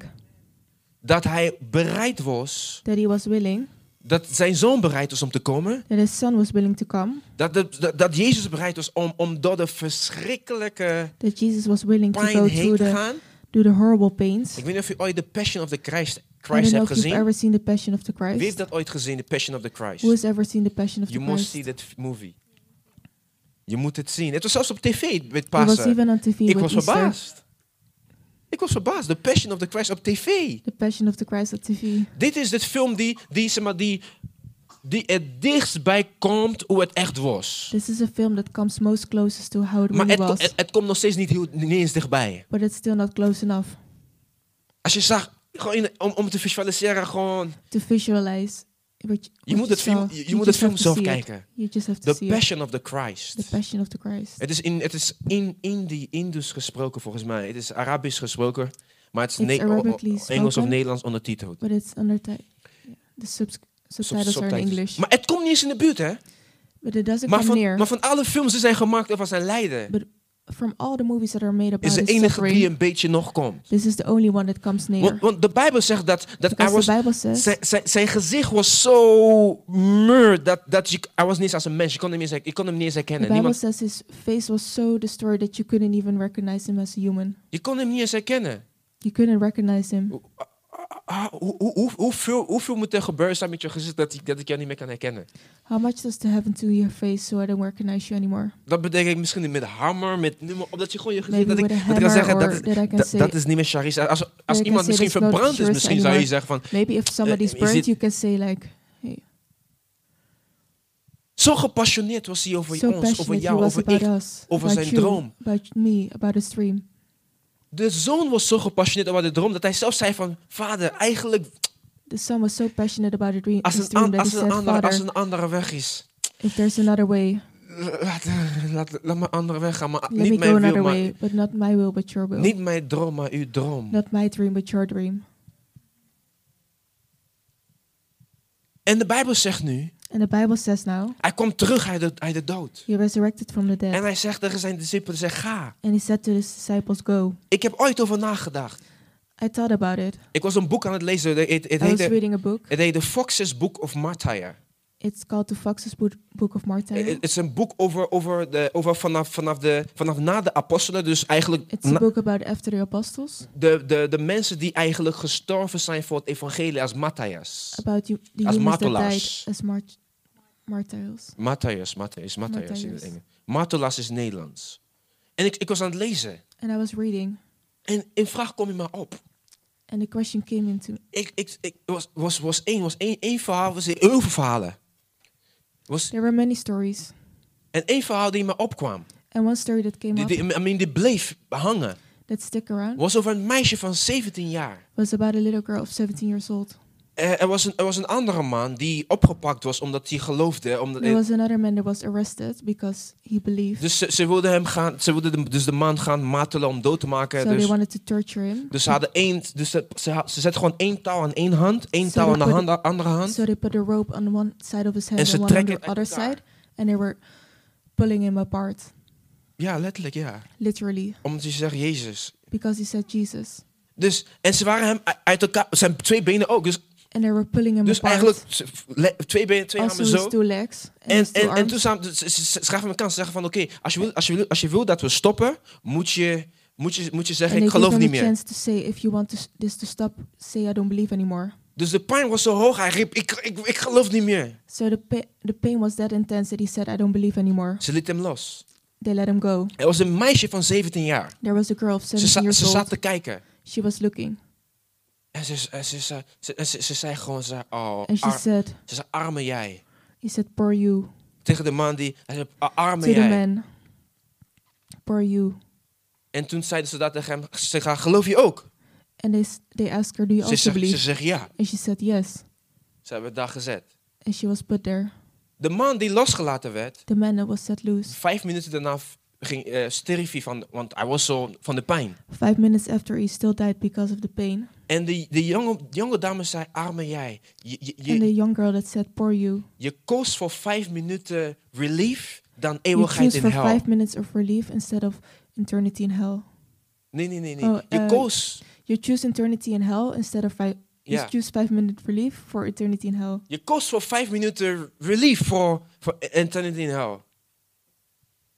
dat hij bereid was, that He was willing, dat zijn zoon bereid was om te komen, that His Son was willing to come, dat, de- dat, dat Jezus bereid was om, om door de verschrikkelijke that Jesus was willing to pijn go heen through te the gaan. do the horrible pains. Ik weet niet of je ooit de Passion of the Christ, I Christ don't know hebt if you've gezien. ever seen the Passion of the Wie heeft Christ. dat ooit gezien, de Passion of the Christ? Who has ever seen the Passion of the You must Christ? see It that f- movie. Je moet het zien. Het was zelfs op tv met was Pasen. even on Ik TV with was Easter. verbaasd. Ik was verbaasd. The Passion of the Christ op tv. The Passion of the Christ on TV. Dit is de film die, die, zeg maar, die, die het dichtst bij komt hoe het echt was. This is a film that comes most closest to how it Maar really het, ko- was, het, het komt nog steeds niet, heel, niet eens dichtbij. but it's still not close enough Als je zag, gewoon in- om, om te visualiseren, gewoon... to visualize. What you, Je what moet you het film, saw. je, je You moet het just film have to zelf see it. kijken. You just have to The see Passion of the it. The Christ. Passion of the Christ. Het is in, het is in, in die Indus gesproken, volgens mij. Het is Arabisch gesproken, maar het is It's ne- o- o- Arabically Engels of spoken. Nederlands ondertiteld. But it's under the subs- subtitles are in Subtitles. English. Maar het komt niet eens in de buurt, hè? but it doesn't Maar come van, near. maar van alle films die zijn gemaakt over zijn lijden, But from all the movies that are made about is de his enige suffering, die een beetje nog komt. this is the only one that comes near. Want, want de Bijbel zegt dat, dat hij because was, the Bible says zijn, zijn, zijn gezicht was zo mur dat, dat je, hij was niet eens als een mens. Je kon hem niet eens, her- je kon hem niet eens the herkennen. Bible Niemand, says his face was so destroyed that you couldn't even recognize him as a human. je kon hem niet eens herkennen. You couldn't recognize him. Ah, hoe, hoe, hoe, hoeveel, hoeveel moet er gebeuren zijn met je gezicht dat ik, dat ik jou niet meer kan herkennen? How much does to happen to your face so I don't recognize you anymore? Dat bedenk ik misschien met hammer, met nummer, omdat je gewoon je gezicht... Maybe Dat ik, with a dat ik kan hammer zeggen, or dat, is- that I can dat- say- dat is niet meer Charisse. Als, als can iemand say misschien that's not verbrand is, Charisse misschien zou je anymore. zeggen van... Maybe if Uh, somebody's is burnt, it- you can say like, hey, Zo gepassioneerd was hij over so ons, over passionate he jou, was over about ik. us, over about zijn you, droom. about me, about his dream. De zoon was zo gepassioneerd over de droom dat hij zelf zei van... Vader, eigenlijk The son was so passionate about the dream, als his een, dream an- that he als een, said, andere, als Father, een andere weg is... if there's another way, Laat, laat, laat mijn andere weg gaan, maar let me Uh, niet go mijn wil, another maar... way, but not my will, but your will. Niet mijn droom, maar uw droom. Not my dream, but your dream. En de Bijbel zegt nu... And the Bible says now, Hij kwam terug uit de, uit de dood. he resurrected from the dead. En hij zegt tegen zijn discipelen, zeg ga. And he said to his disciples, go. Ik heb ooit over nagedacht. I thought about it. Ik was een boek aan het lezen. Het, het, het I was heette, reading a book. het heette Fox's Book of Martyr. It's called The Fox's Bo- Book of Het Martyr. het is een boek over, over, de, over vanaf, vanaf, de, vanaf na de apostelen. Dus eigenlijk It's a na- book about after the apostles, de, de, de mensen die eigenlijk gestorven zijn voor het evangelie als Matthias. about you, the As humans that died martelaars. as mart- martyrs. Matthias, Matthias, Matthias in het Matthias. Engels. Martelas is Nederlands. En ik, ik was aan het lezen. And I was reading, En een vraag kom je maar op. and the question came into Ik, ik, ik was, was, was één, was één, één verhaal, was heel veel verhalen. Was, There were many stories, en één verhaal die me opkwam. and one story that came Die, up die, I mean, die bleef hangen. that stick around was over een meisje van 17 jaar. was about a little girl of 17 years old. Eh, er, was een, er was een andere man die opgepakt was omdat hij geloofde. Omdat, There was another man that was arrested because he believed, dus ze, ze wilden hem gaan, ze wilden de, dus de man gaan martelen om dood te maken. so they dus, wanted to torture him. dus ze hadden één, dus ze, ze, had- ze zetten gewoon één touw aan één hand, één Zo, touw aan de dat wordt- hand, andere hand. So they put a rope on one side of his hand En and, ze one on trekken the uit other elkaar. side, and they were pulling him apart, Ja, letterlijk, ja. literally, Omdat ze zeggen, Jezus. because he said Jesus. Dus, en ze waren hem u- uit elkaar, zijn twee benen ook. Dus, And they were pulling him dus apart, eigenlijk ze- le- twee benen, twee also armen his zo. two legs and, En, his two en, en arms. toen samen, ze, ze, ze gaven elkaar ze zeggen van oké, als, je wil- als, je wil- als je wil dat we stoppen, moet je, moet je, moet je zeggen and they ik geloof gave niet him a meer. chance to say, if you want this, this to stop, say I don't believe anymore. Dus de pijn was zo hoog, hij riep ik, ik, ik geloof niet meer. So the, pa- the pain was that intense that he said, I don't believe anymore. Ze liet hem los. They let him go. Er was een meisje van 17 jaar. There was a girl of Ze, za- 17 years ze zat old. te kijken. She was looking, En ze, ze, ze, ze, ze, ze- ze zei gewoon, ze, zei, oh, and she ar- said, ze zei arme jij. he said, poor you, Tegen de man die, hij zei, "Ah, arme to the jij. man, poor you. En toen zeiden ze dat tegen hem, ze gaan geloof je ook? And they, s- they asked her, do you Ze, also zegt- ze believe? zegt ja. And she said, yes. Ze hebben het daar gezet. And she was put there. De man die losgelaten werd, The man that was set loose, vijf minuten daarna v- ging eh stierf hij van, want hij was zo van de pijn. Five minutes after he still died because of the pain. En de, de jonge, jonge dame zei, arme jij, je, je, je, And the young girl that said, Poor you. je koos voor vijf minuten relief dan You eeuwigheid choose in for hel. five minutes of relief instead of eternity in hell. Nee, nee, nee. nee. Oh, je eh, koos You choose eternity in hell instead of five. Ja. You choose five minute relief for eternity in hell. Je kost voor vijf minuten relief voor, voor Anthony in hell.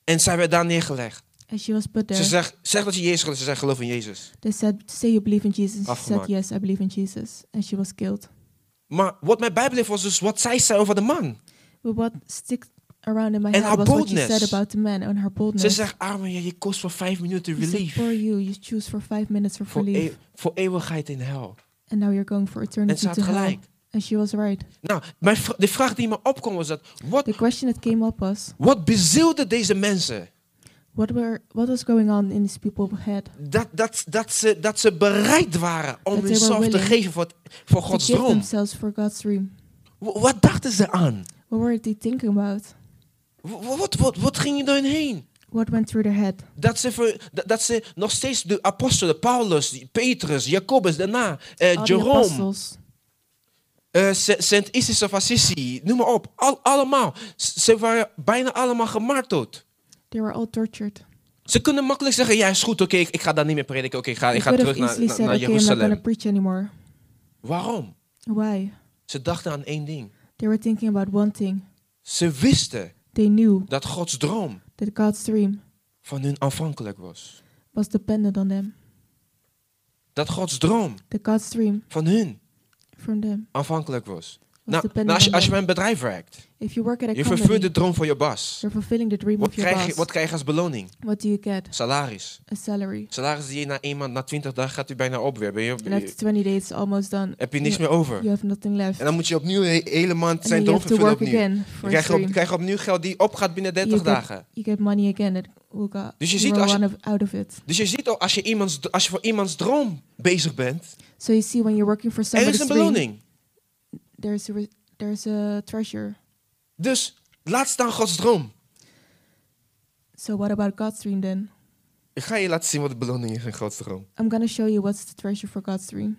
En zij werd daar neergelegd. And she was put there. Ze zegt, zeg dat je Jezus gelooft. Ze zegt, geloof in Jezus. They said, Say you believe in Jesus. She said, Afgemaakt. Yes, I believe in Jesus. And she was killed. Maar wat mijn Bijbel heeft was dus wat zij zei over de man. But what sticks around in my And head her was what you said boldness. about the man and her boldness. Ze zegt, arme, ja, je kost voor vijf minuten You said, relief For you, you choose for five minutes of voor, relief. eeu- voor eeuwigheid in hel. and now you're going for En ze eternity had to hell. gelijk. And she was right. Nou, mijn vra- de vraag die me opkwam was dat, wat, The question that came up was, wat bezielde deze mensen? what were what was going on in these people's head? Dat, dat, dat, ze, dat ze bereid waren om they were hunzelf te willing geven voor, het- voor To Gods give droom. themselves for God's dream. W- Wat dachten ze aan? What were they thinking about? W- w- Wat, wat, wat ging er door hen heen? What went through their head? Dat ze, ver- dat, dat ze nog steeds de apostelen, Paulus, Petrus, Jacobus, daarna, eh All the Jerome, apostles, eh, Sa- Saint Isis of Assisi, noem maar op. Al, allemaal. S- Ze waren bijna allemaal gemarteld. they were all tortured. Ze kunnen makkelijk zeggen, ja is goed, oké, ik, ik ga daar niet meer prediken, oké, ik They ga, ik ga could have terug naar, easily naar, said, naar okay, I'm not Jeruzalem. going to preach anymore. Waarom? Why? Ze dachten aan één ding. They were thinking about one thing. Ze wisten They knew dat Gods droom that God's dream van hun afhankelijk was. was dependent on them. Dat Gods droom That God's dream van hun from them afhankelijk was. was Nou, dependent nou, als, je, on als je bij them. een bedrijf werkt, If you work at a Je company, vervult de droom van je baas. you're fulfilling the dream Wat of your krijg, je, boss. wat krijg je als beloning? What do you get? Salaris. A salary. Salaris die je na een maand, na twintig dagen gaat u bijna op weer. Ben je, And after 20 days, it's almost done. heb je niks meer over. You have nothing left. En dan moet je opnieuw he- helemaal and then zijn you droom have to vervullen work opnieuw. again Dan for a krijg je, op, dream. krijg je opnieuw geld die opgaat binnen 30 You get- dagen. You get money again that will go. Dus je will ziet als run of- out of it. Dus je ziet al, als je, iemands, als je voor iemands droom bezig bent, So you see, when you're working for er somebody's is een dream, beloning. there's a re- there's a treasure. Dus laat staan Gods droom. So what about God's dream then? Ik ga je laten zien wat de beloning is in Gods droom. I'm gonna show you what's the treasure for God's dream.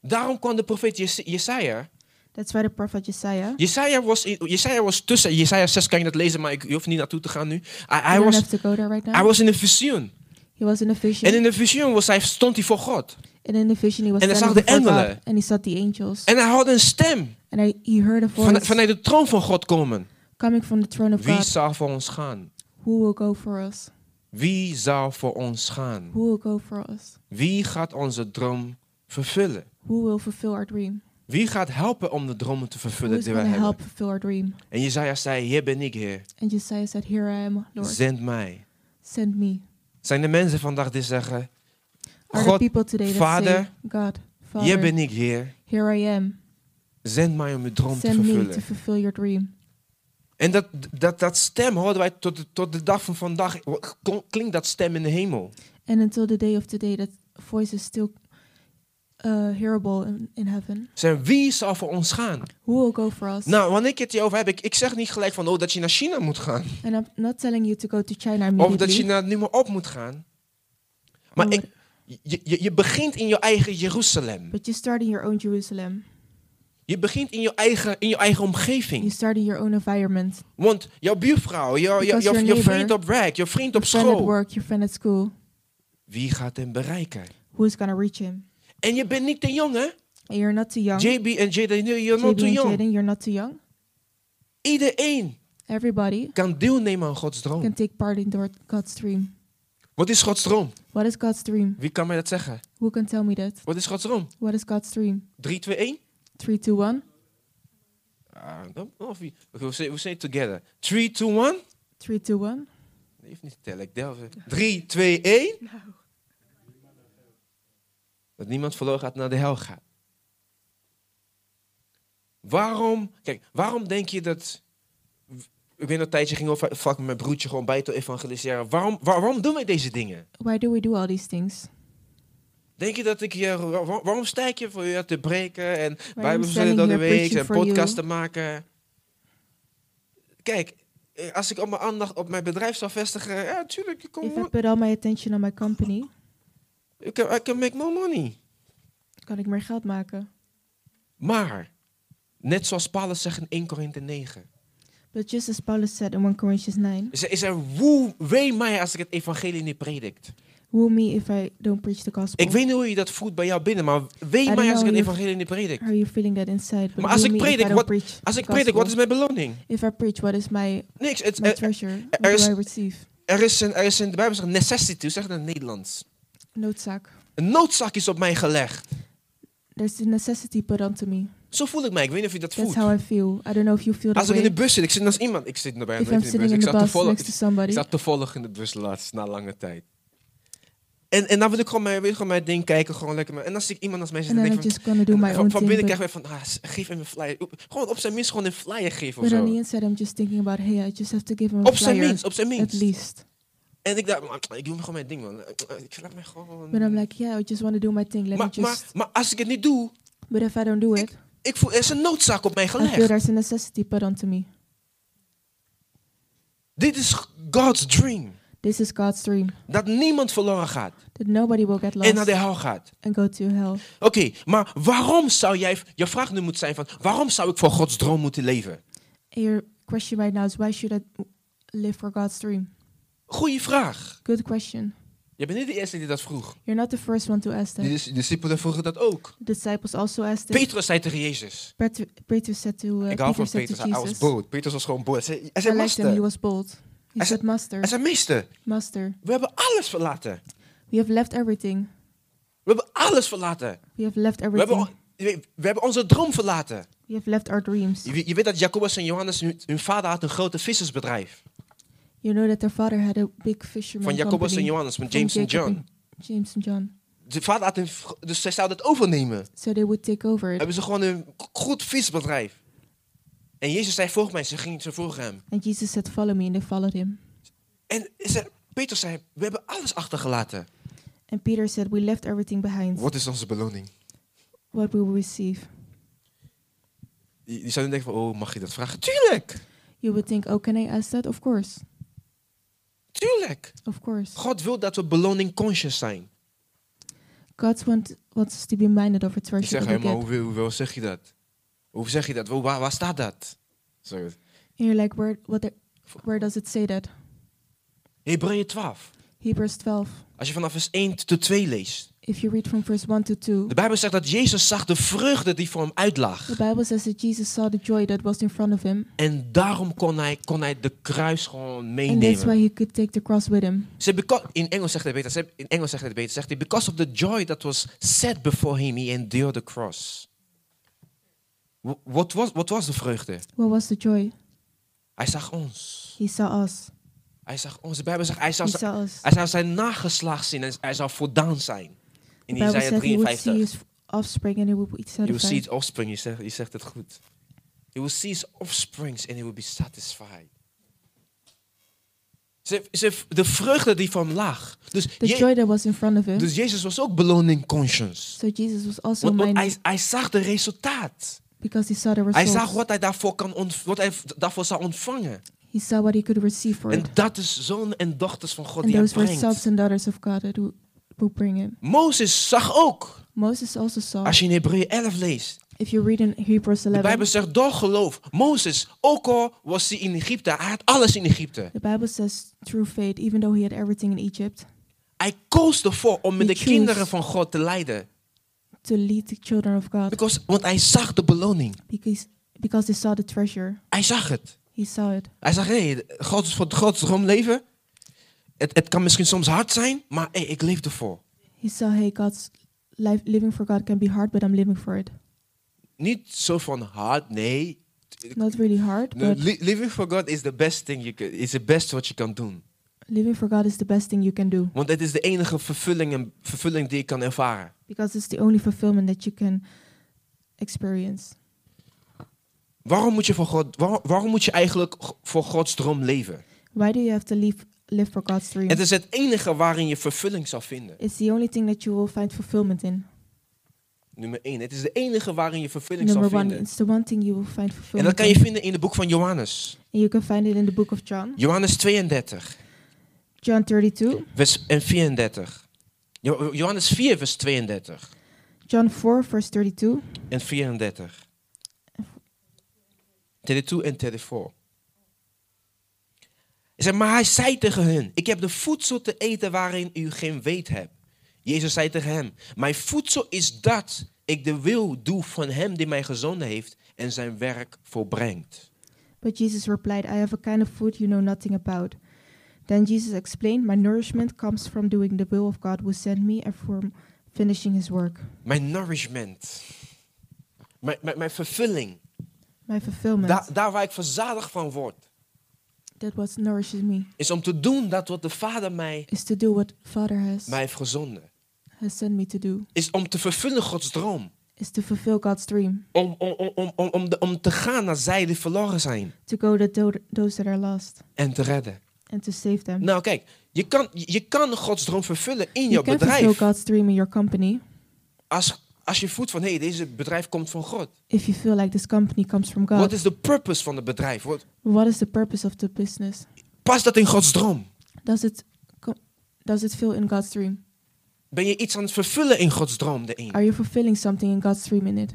Daarom kwam de profeet Jes- Jesaja. That's why the prophet Josiah. Jesaja was, in- Jesaja was tussen. Jesaja 6 kan je dat lezen, maar ik je hoeft niet naartoe te gaan nu. Hij, hij you was, don't have to go there right now. hij was in een visioen. he was in a vision, En in een visioen was hij, stond hij voor God. and in the vision he was En hij standing zag de before God, engelen. and he saw the angels, En hij had een stem and I, he heard a voice van, vanuit de troon van God komen. coming from the throne of Wie God. zal voor ons gaan? Who will go for us? Wie zal voor ons gaan? Who will go for us? Wie gaat onze droom vervullen? Who will fulfill our dream? Wie gaat helpen om de dromen te vervullen Who's die going wij to hebben? help fulfill our dream? En Jezaja zei, hier ben ik, Heer. And Josiah said, Here I am, Lord, Zend mij. send me. Zijn er mensen vandaag die zeggen, Are God, the people today that Vader, say, God, hier Father, ben ik, Heer. here I am, Zend mij om uw droom te send me to vervullen. fulfill your dream? En dat, dat, dat stem hoorden wij tot de, tot de dag van vandaag. Klinkt dat stem in de hemel? And until the day of today, that voice is still uh, hearable in, in heaven. Zijn wie zal voor ons gaan? Who will go for us? Nou, wanneer ik het hierover heb, ik, ik zeg niet gelijk van oh, dat je naar China moet gaan. And I'm not telling you to go to China Of dat je immediately. naar nummer op moet gaan. Maar or ik, what- je, je, je begint in je eigen Jeruzalem. but you start in your own Jerusalem. Je begint in je eigen, in je eigen You omgeving. start in your own environment. Want jouw buurvrouw, jouw, jouw, Because jouw, your jouw neighbor, vriend op werk, jouw vriend Your op friend at school. work, your friend at school. Wie gaat hem bereiken? Who's going to reach him? En je bent niet te jong, hè? And you're not too young. JB en Jaden, you're JB not too and young. Jaden, you're not too young. Iedereen Everybody kan deelnemen aan Gods droom. can take part in door- God's dream. Wat is Gods droom? What is God's dream? Wie kan mij dat zeggen? Who can tell me that? Wat is Gods droom? What is God's dream? 3, 2, 1. Three, two, one. Ah, dan- of wie- Oké, we say, we say it together. 3, 2, 1. Three, two, one. Nee, hoeft niet te tellen. Ik delf. 3, 2, 1. Dat niemand verloren gaat naar de hel gaat. Waarom, kijk, waarom denk je dat... Ik weet nog een tijdje ging over vaak met mijn broertje gewoon bij te evangeliseren. Waarom, waar- waarom doen wij deze dingen? Why do we do all these things? Denk je dat ik hier... wa- wa- waarom sta ik hier voor je te breken en I'm bijbelstudie standing door de here week preaching en for you. podcast te maken? Kijk, eh, als ik al mijn aandacht op mijn bedrijf zou vestigen, ja, tuurlijk, ik, If kom, I put all my attention on my company, ik kan, I can make more money. kan ik meer geld maken. Maar, net zoals Paulus zegt in 1 Korinthe 9, But just as Paulus said in 1 Corinthians 9, is er, is er woe, wee mij als ik het evangelie niet predikt. woe me if I don't preach the gospel. Ik weet niet hoe je dat voelt bij jou binnen, maar wee don't mij als ik know het if- evangelie niet predikt. How are you feeling that inside? But Maar als ik woe me if I predik, don't wat- preach Als the ik predik, wat is gospel. mijn beloning? If I preach, what is my, Niks. Het, my er, treasure? What er is- do I receive? er is een, er is een, de Bijbel zegt necessity, zeg het in het Nederlands. Noodzaak. Een noodzak is op mij gelegd. There's the necessity put onto me. Zo voel ik mij. Ik weet niet of je dat That's voelt. how I feel. I don't know if you feel that Als ik in de way. bus zit, ik zit naast iemand. Ik zit bij If een I'm in de sitting bus. in Ik the zat bus toevallig, next to ik somebody, zat toevallig in de bus laatst, na lange tijd. En, en dan wil ik gewoon mijn, wil ik gewoon mijn ding kijken, gewoon lekker. maar- En als ik iemand als mij zit, and dan then denk I'm ik van, just gonna do my van, own van binnen thing. krijg But, ik van, ah, s- geef hem een flyer. Oep, Gewoon op zijn minst gewoon een flyer geven of but on the zo. inside, I'm just thinking about, hey, I just have to give him a Op zijn flyer, minst, op zijn at minst. least. En ik dacht, man, ik doe gewoon mijn ding, man. Ik laat mij gewoon... But I'm like, yeah, I just want to do my thing. Let maar, me maar, just. maar als ik het niet doe, but if I don't do it, ik voel, er is een noodzaak op mij I feel gelegd. there's a necessity put onto me. Dit is God's dream. This is God's dream Dat niemand verloren gaat that nobody will get en naar lost de hel gaat. and go to hell. Oké, maar waarom zou jij, je vraag nu moet zijn van, waarom zou ik voor Gods droom moeten leven? And your question right now is, why should I live for God's dream? Goeie vraag. Good question. Je bent niet de eerste die dat vroeg. You're not the first one to ask De that. dis- discipelen vroegen dat ook. The disciples also asked it. Petrus zei tegen Jezus. Peter, Peter said to uh, ik hou van Peter said to Petrus, hij was Jesus, bold. Petrus was gewoon bold. Hij zei, hij I zei liked him. He master, was bold. He Hij zei- said, Master, hij zei meester, Master, we hebben alles verlaten. we have left everything. We hebben alles verlaten. We have left We hebben, everything. on- we we hebben onze droom verlaten. We have left our dreams. Je, weet- je weet dat Jacobus en Johannes, hun, hun vader had een grote vissersbedrijf. You know that their father had a big fisherman Van Jacobus en company. Johannes, van Van James en Jacob John. James and John. De vader had een, v- dus zij zouden het overnemen. So they would take over it. Hebben ze gewoon een k- goed visbedrijf. En Jezus zei, volg mij. Ze gingen ze volgen hem. And Jesus said, Follow me, and they followed him. En ze, Peter zei, we hebben alles achtergelaten. And Peter said, We left everything behind. Wat is onze beloning? What we will receive. Die, die zou nu denken van, oh, mag je dat vragen? Tuurlijk! You would think, Oh, can I ask that? Of course. Tuurlijk! Of course. God wil dat we beloning conscious zijn. God want, wants us to be minded of a Ik treasure zeg, that hé, we maar get. hoe, hoe, hoe zeg je dat? Hoe zeg je dat? Hoe- Waar, waar staat dat? Zo. And you're like, Where, what the, where does it say that? Hebreeën 12. Hebrews 12. Als je vanaf vers 1 tot 2 leest. If you read from verse 1 to 2, De Bijbel zegt dat Jezus zag de vreugde die voor hem uitlag. the Bible says that Jesus saw the joy that was in front of him, En daarom kon hij, kon hij de kruis gewoon and that's why meenemen. he could take the cross with him. Ze beco- in Engels zegt hij beter. ze- In Engels zegt hij beter. Zegt hij, because of the joy that was set before him, he endured the cross. W- Wat was, wat was de vreugde? What was the joy? Hij zag ons. He saw us. Hij zag ons. De Bijbel zegt, hij zou, He zijn- saw us. hij zou zijn nageslacht zien en hij zou voldaan zijn. The In Bible Isaiah said he would 53. see his offspring and he would be He will see satisfied. his offspring. Je zegt, je zegt het goed. He will see his offsprings and he will be satisfied. Ze, ze, de vreugde die van lag. Dus, The Je- joy that was in front of him. dus Jezus was ook beloning conscious. So Jesus was also Want, want minded hij, hij zag de resultaat. because he saw the Hij zag results. wat hij daarvoor, kan ont, wat hij v- daarvoor zou ontvangen. He saw what he could receive for En it. dat is zoon en dochters van God And die hij those were sons brengt. and daughters of God that who would bring him. Mozes zag ook. Moses also saw, Als je in Hebreeën 11 leest. if you read in Hebrews De Bijbel 11, zegt door geloof. Mozes, ook al was hij in Egypte. Hij had alles in Egypte. the Bible says through faith, even though he had everything in Egypt, Hij koos ervoor om met He de kinderen chose. van God te leiden. to lead the children of God. Because, want hij zag de beloning. because because they saw the treasure. Hij zag het. He saw it. Hij zag, hé, hey, God, voor Gods droom leven. Het, het kan misschien soms hard zijn, maar hey, ik leef ervoor. He saw, hey, God's life living for God can be hard, but I'm living for it. Niet zo van hard, nee. Not really hard, No, but li- living for God is the best thing you can, is the best wat je kan doen. living for God is the best thing you can do Want het is de enige vervulling, en, vervulling die ik kan ervaren. because it's the only fulfillment that you can experience. Waarom moet je, voor God, waar- waarom moet je eigenlijk g- voor Gods droom leven? Why do you have to live live for God's dream? Het is het enige waarin je vervulling zal vinden. It's the only thing that you will find fulfillment in. Nummer 1. Het is de enige waarin je vervulling Number zal one, vinden. it's the one thing you will find En fulfillment. dat kan je in. vinden in het boek van Johannes. And you can find it in the book of John, Johannes 32, John 32, vers en 34. Jo- Johannes 4, vers 32 John 4, verse 32, en 34. 32 en 34. Hij zei, maar hij zei tegen hen, ik heb de voedsel te eten waarin u geen weet hebt. Jezus zei tegen hem, mijn voedsel is dat ik de wil doe van hem die mij gezonden heeft en zijn werk volbrengt. But Jesus replied, I have a kind of food you know nothing about. Then Jesus explained, My nourishment comes from doing the will of God who sent me and from finishing his work. Mijn nourishment. Mijn, mijn, mijn vervulling. My fulfillment, Da- daar waar ik verzadigd van word. that what nourishes me, Is om te doen dat wat de Vader mij, is to do what Father has, mij heeft gezonden. has sent me to do, Is om te vervullen Gods droom. is to fulfill God's dream, Om, om, om, om, om, om, de- om te gaan naar zij die verloren zijn. to go to tho- those that are lost En te redden. and to save them. Nou kijk, je kan, je kan Gods droom vervullen in you jouw can fulfill bedrijf. God's dream in your company Als, als je voelt van, hé, hey, deze bedrijf komt van God. if you feel like this company comes from God. Wat is de purpose van het bedrijf? Wat- what is the purpose of the business? Past dat in Gods droom? Does it co- does it feel in God's dream? Ben je iets aan het vervullen in Gods droom? De een? Are you fulfilling something in God's dream in it?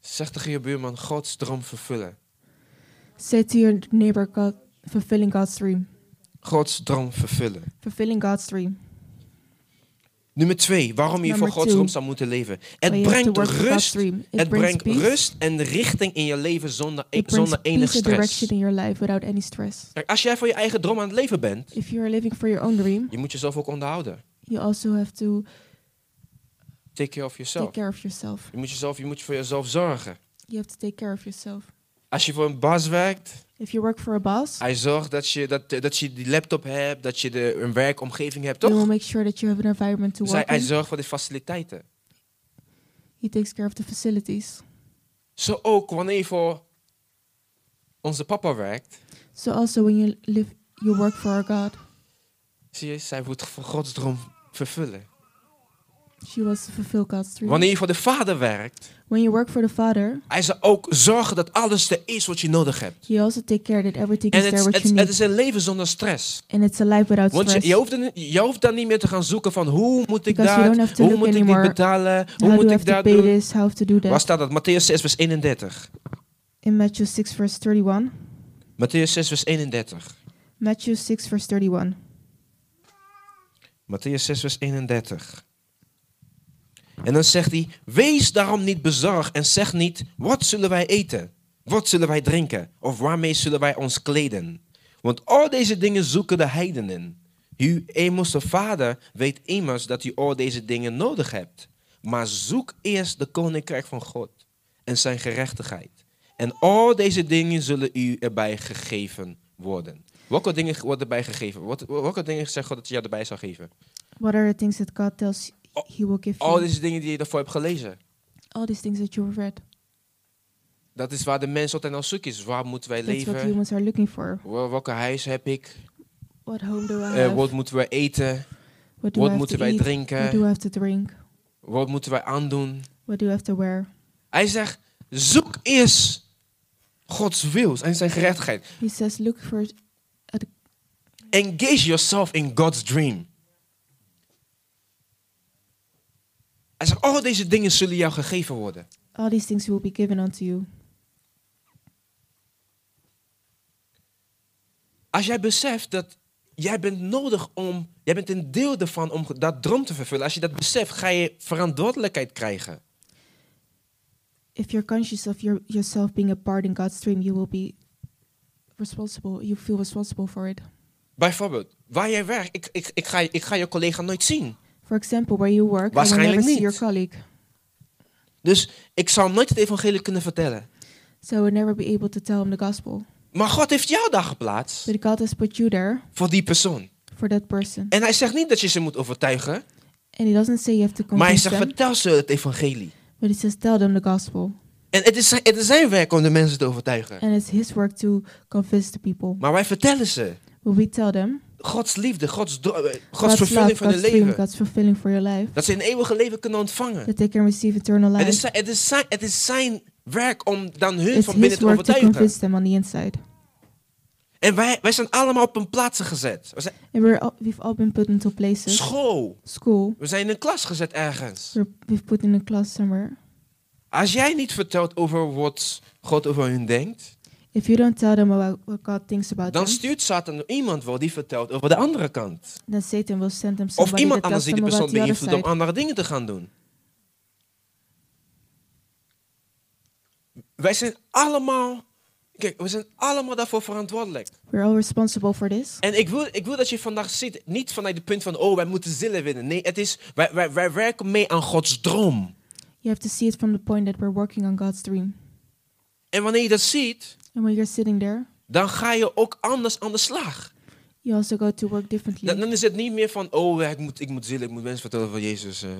Zeg tegen je buurman, Gods droom vervullen. Say to your neighbor, God, fulfilling God's dream. Gods droom vervullen. Fulfilling God's dream. Nummer twee, waarom je voor Number Gods two. droom zou moeten leven. Het Why you have to brengt work for God's rust. dream. It Het brings brengt peace. rust en richting in je leven zonder, e- It brings zonder enig peace and stress. direction in your life without any stress. Kijk, als jij voor je eigen droom aan het leven bent, If you are living for your own dream, je moet jezelf ook onderhouden. you also have to Take care of take yourself. care of yourself. Je moet, jezelf, je moet voor jezelf zorgen. You have to take care of yourself. Als je voor een baas werkt, If you work for a boss, hij zorgt dat je, dat, dat je die laptop hebt, dat je de, een werkomgeving hebt, he will toch? make sure that you have an environment to Dus hij, work hij in. zorgt voor de faciliteiten. He takes care of the facilities. Zo ook wanneer je voor onze papa werkt, So also when you live, you work for our God. zie je, zij moet voor Gods droom vervullen. She was to fulfill God's dream. Wanneer je voor de Vader werkt, when you work for the Father, hij zal ook zorgen dat alles er is wat je nodig hebt. you also take care that everything En is there het, what het, you het need. is een leven zonder stress. and it's a life without Want stress. je, je, hoeft er, niet- je hoeft dan niet meer te gaan zoeken van hoe moet ik Because you don't dat, have to hoe look moet ik dit anymore. betalen, hoe how do moet I have ik to dat pay doen. this? How to do Waar that? staat dat? Matthäus 6 vers 31. In Matthew 6 verse 31. Matthäus 6 vers 31. Matthew 6 verse 31. Matthäus 6 vers 31. En dan zegt hij, wees daarom niet bezorgd en zeg niet, wat zullen wij eten? Wat zullen wij drinken? Of waarmee zullen wij ons kleden? Want al deze dingen zoeken de heidenen. Uw hemelse vader weet immers dat u al deze dingen nodig hebt. Maar zoek eerst de koninkrijk van God en zijn gerechtigheid. En al deze dingen zullen u erbij gegeven worden. Welke dingen worden erbij gegeven? Wat- Welke dingen zegt God dat hij jou erbij zal geven? What are the things that God tells Al- He will give Al you? deze dingen die je daarvoor hebt gelezen. All these things that you read. Dat is waar de mens altijd naar zoek is. Waar moeten wij That's what leven? humans are looking for. Wel- Welke huis heb ik? Uh, What home do I Eh, have? wat moeten we eten? what do I Wat have moeten to wij eat? What do drinken? I have to drink? Wat moeten wij aandoen? What do I have to wear? Hij zegt, zoek eerst Gods wil en zijn gerechtigheid. He says, look for Engage yourself in God's dream. Hij zegt, al deze dingen zullen jou gegeven worden. all these things will be given unto you. Als jij beseft dat jij bent nodig om, jij bent een deel ervan om dat droom te vervullen. Als je dat beseft, ga je verantwoordelijkheid krijgen. If you're conscious of your, yourself being a part in God's dream, you will be responsible. You feel responsible for it. Bijvoorbeeld, waar jij werkt, ik, ik, ik, ga, ik ga je collega nooit zien. For example, where you work, I will Waarschijnlijk never see your niet. colleague, Dus ik zal hem nooit het evangelie kunnen vertellen. so I will never be able to tell him the gospel. Maar God heeft jou daar geplaatst But God has put you there voor die persoon. for that person, En hij zegt niet dat je ze moet overtuigen, and He doesn't say you have to maar hij convince zegt them, vertel ze het evangelie. but He says tell them the gospel, En het is, zijn- het is zijn werk om de mensen te overtuigen. and it's His work to convince the people. Maar wij vertellen ze. But we tell them, Gods liefde, Gods, do- eh, Gods God's vervulling love, van hun God's dream, leven. God's fulfilling for your life. Dat ze een eeuwige leven kunnen ontvangen. That they can receive eternal Het is, life. zijn- het, is zijn, het is zijn werk om dan hun It's van binnen His te work to overtuigen. convince them on the inside. En wij, wij zijn allemaal op hun plaatsen gezet. We zijn And we're all, we've all been put into places. school. School. We zijn in een klas gezet ergens. We're, we've put in a class somewhere. Als jij niet vertelt over wat God over hun denkt, If you don't tell them about what God thinks about dan them, stuurt Satan iemand wel die vertelt over de andere kant. then Satan will send them Of somebody iemand that anders tells die de them about persoon the other beïnvloedt om side. andere dingen te gaan doen. Wij zijn allemaal, kijk, we zijn allemaal daarvoor verantwoordelijk. We're all responsible for this. En ik wil, ik wil dat je vandaag ziet, niet vanuit het punt van, oh, wij moeten zillen winnen. Nee, het is, wij, wij, wij werken mee aan Gods droom. You have to see it from the point that we're working on God's dream. En wanneer je dat ziet, And when you're sitting there, dan ga je ook anders aan de slag. you also go to work Dan, differently. dan is het niet meer van, oh, ik moet, ik moet zillen, ik moet mensen vertellen van Jezus. eh.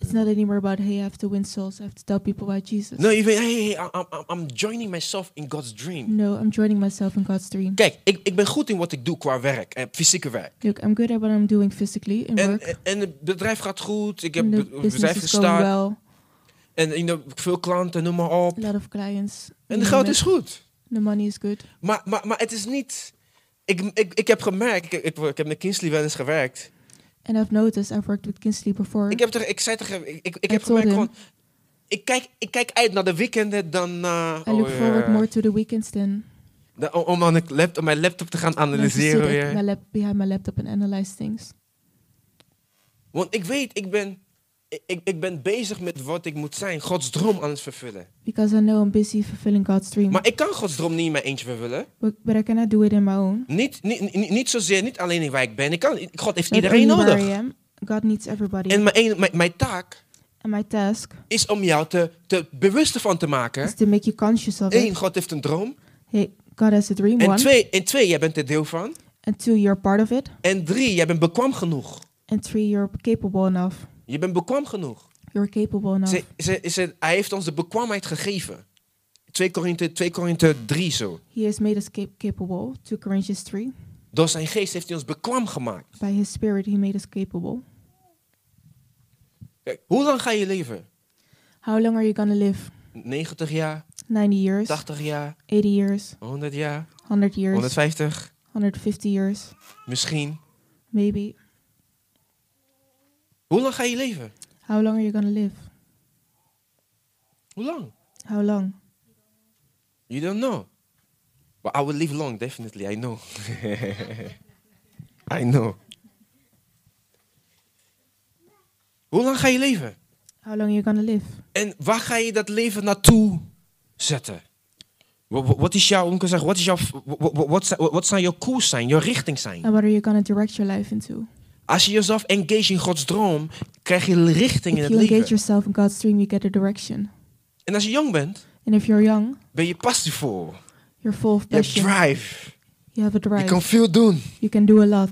It's not anymore about, hey, I have to win souls. I have to tell people about Jesus. No, je weet, hey, hey, hey, I'm, I'm- I'm joining myself in God's dream. No, I'm joining myself in God's dream. Kijk, ik, ik ben goed in wat ik doe qua werk, en fysieke werk. Look, I'm good at what I'm doing physically in En, work. en, en het bedrijf gaat goed, ik heb and the het bedrijf business is going gestart. well. En you know, veel klanten, noem maar op. A lot of clients. En you de know, goud met- is goed. The money is good. Maar, maar, maar het is niet... Ik, ik, ik heb gemerkt, ik, ik, ik heb met Kinsley wel eens gewerkt. And I've noticed I've worked with Kinsley before. Ik, heb toch, ik zei toch, ik, ik, ik I heb told gemerkt him. gewoon... Ik kijk, ik kijk uit naar de weekenden dan... eh, I look oh, ja. forward more to the weekends than Da- om- om aan het lap- om mijn laptop te gaan than to sit analyseren at weer. my lap, behind my laptop and analyze things. Want ik weet, ik ben, ik- ik, ik ben bezig met wat ik moet zijn. Gods droom aan het vervullen. Because I know I'm busy fulfilling God's dream. Maar ik kan Gods droom niet in mijn eentje vervullen. but, but I cannot do it on my own. Niet, niet, niet, niet zozeer, niet alleen in waar ik ben. Ik kan, God heeft Not iedereen only where nodig. I am, God needs everybody. En mijn, een- mijn, mijn taak and my task is om jou te, te bewust ervan te maken. is to make you conscious of Eén, it. God heeft een droom. Hey, God has a dream, En one. twee, en twee, jij bent er deel van. And two, you're part of it. En drie, jij bent bekwam genoeg. And three, you're capable enough. Je bent bekwam genoeg. You're capable enough. Ze, ze, ze- hij heeft ons de bekwaamheid gegeven. 2 Korinthe, 2 Korinthe 3 zo. He has made us cap- capable. 2 Corinthians 3. Door zijn geest heeft hij ons bekwam gemaakt. By his spirit, he made us capable. Kijk, hoe lang ga je leven? How long are you going to live? 90 jaar, 90 years, 80 jaar, 80 years, 100 jaar, 100 years, 150 150 years, misschien. maybe. Hoe lang ga je leven? How long are you going to live? Hoe lang? How long? You don't know. But I will live long, definitely. I know. I know. Hoe lang ga je leven? How long are you going to live? En waar ga je dat leven naartoe zetten? Wa- wa- Wat is jouw, hoe moet ik het zeggen, wat is jouw, wa- wa- wat zijn- wat zijn jouw koers zijn, jouw richting zijn? And what are you going to direct your life into? Als je jezelf engage in Gods droom, krijg je richting in If het you engage leven. yourself in God's dream, you get a direction. En als je jong bent, And if you're young, ben je passievol. you're full of Je hebt passion. drive. You have a Je kan drive. veel doen. You can do a lot.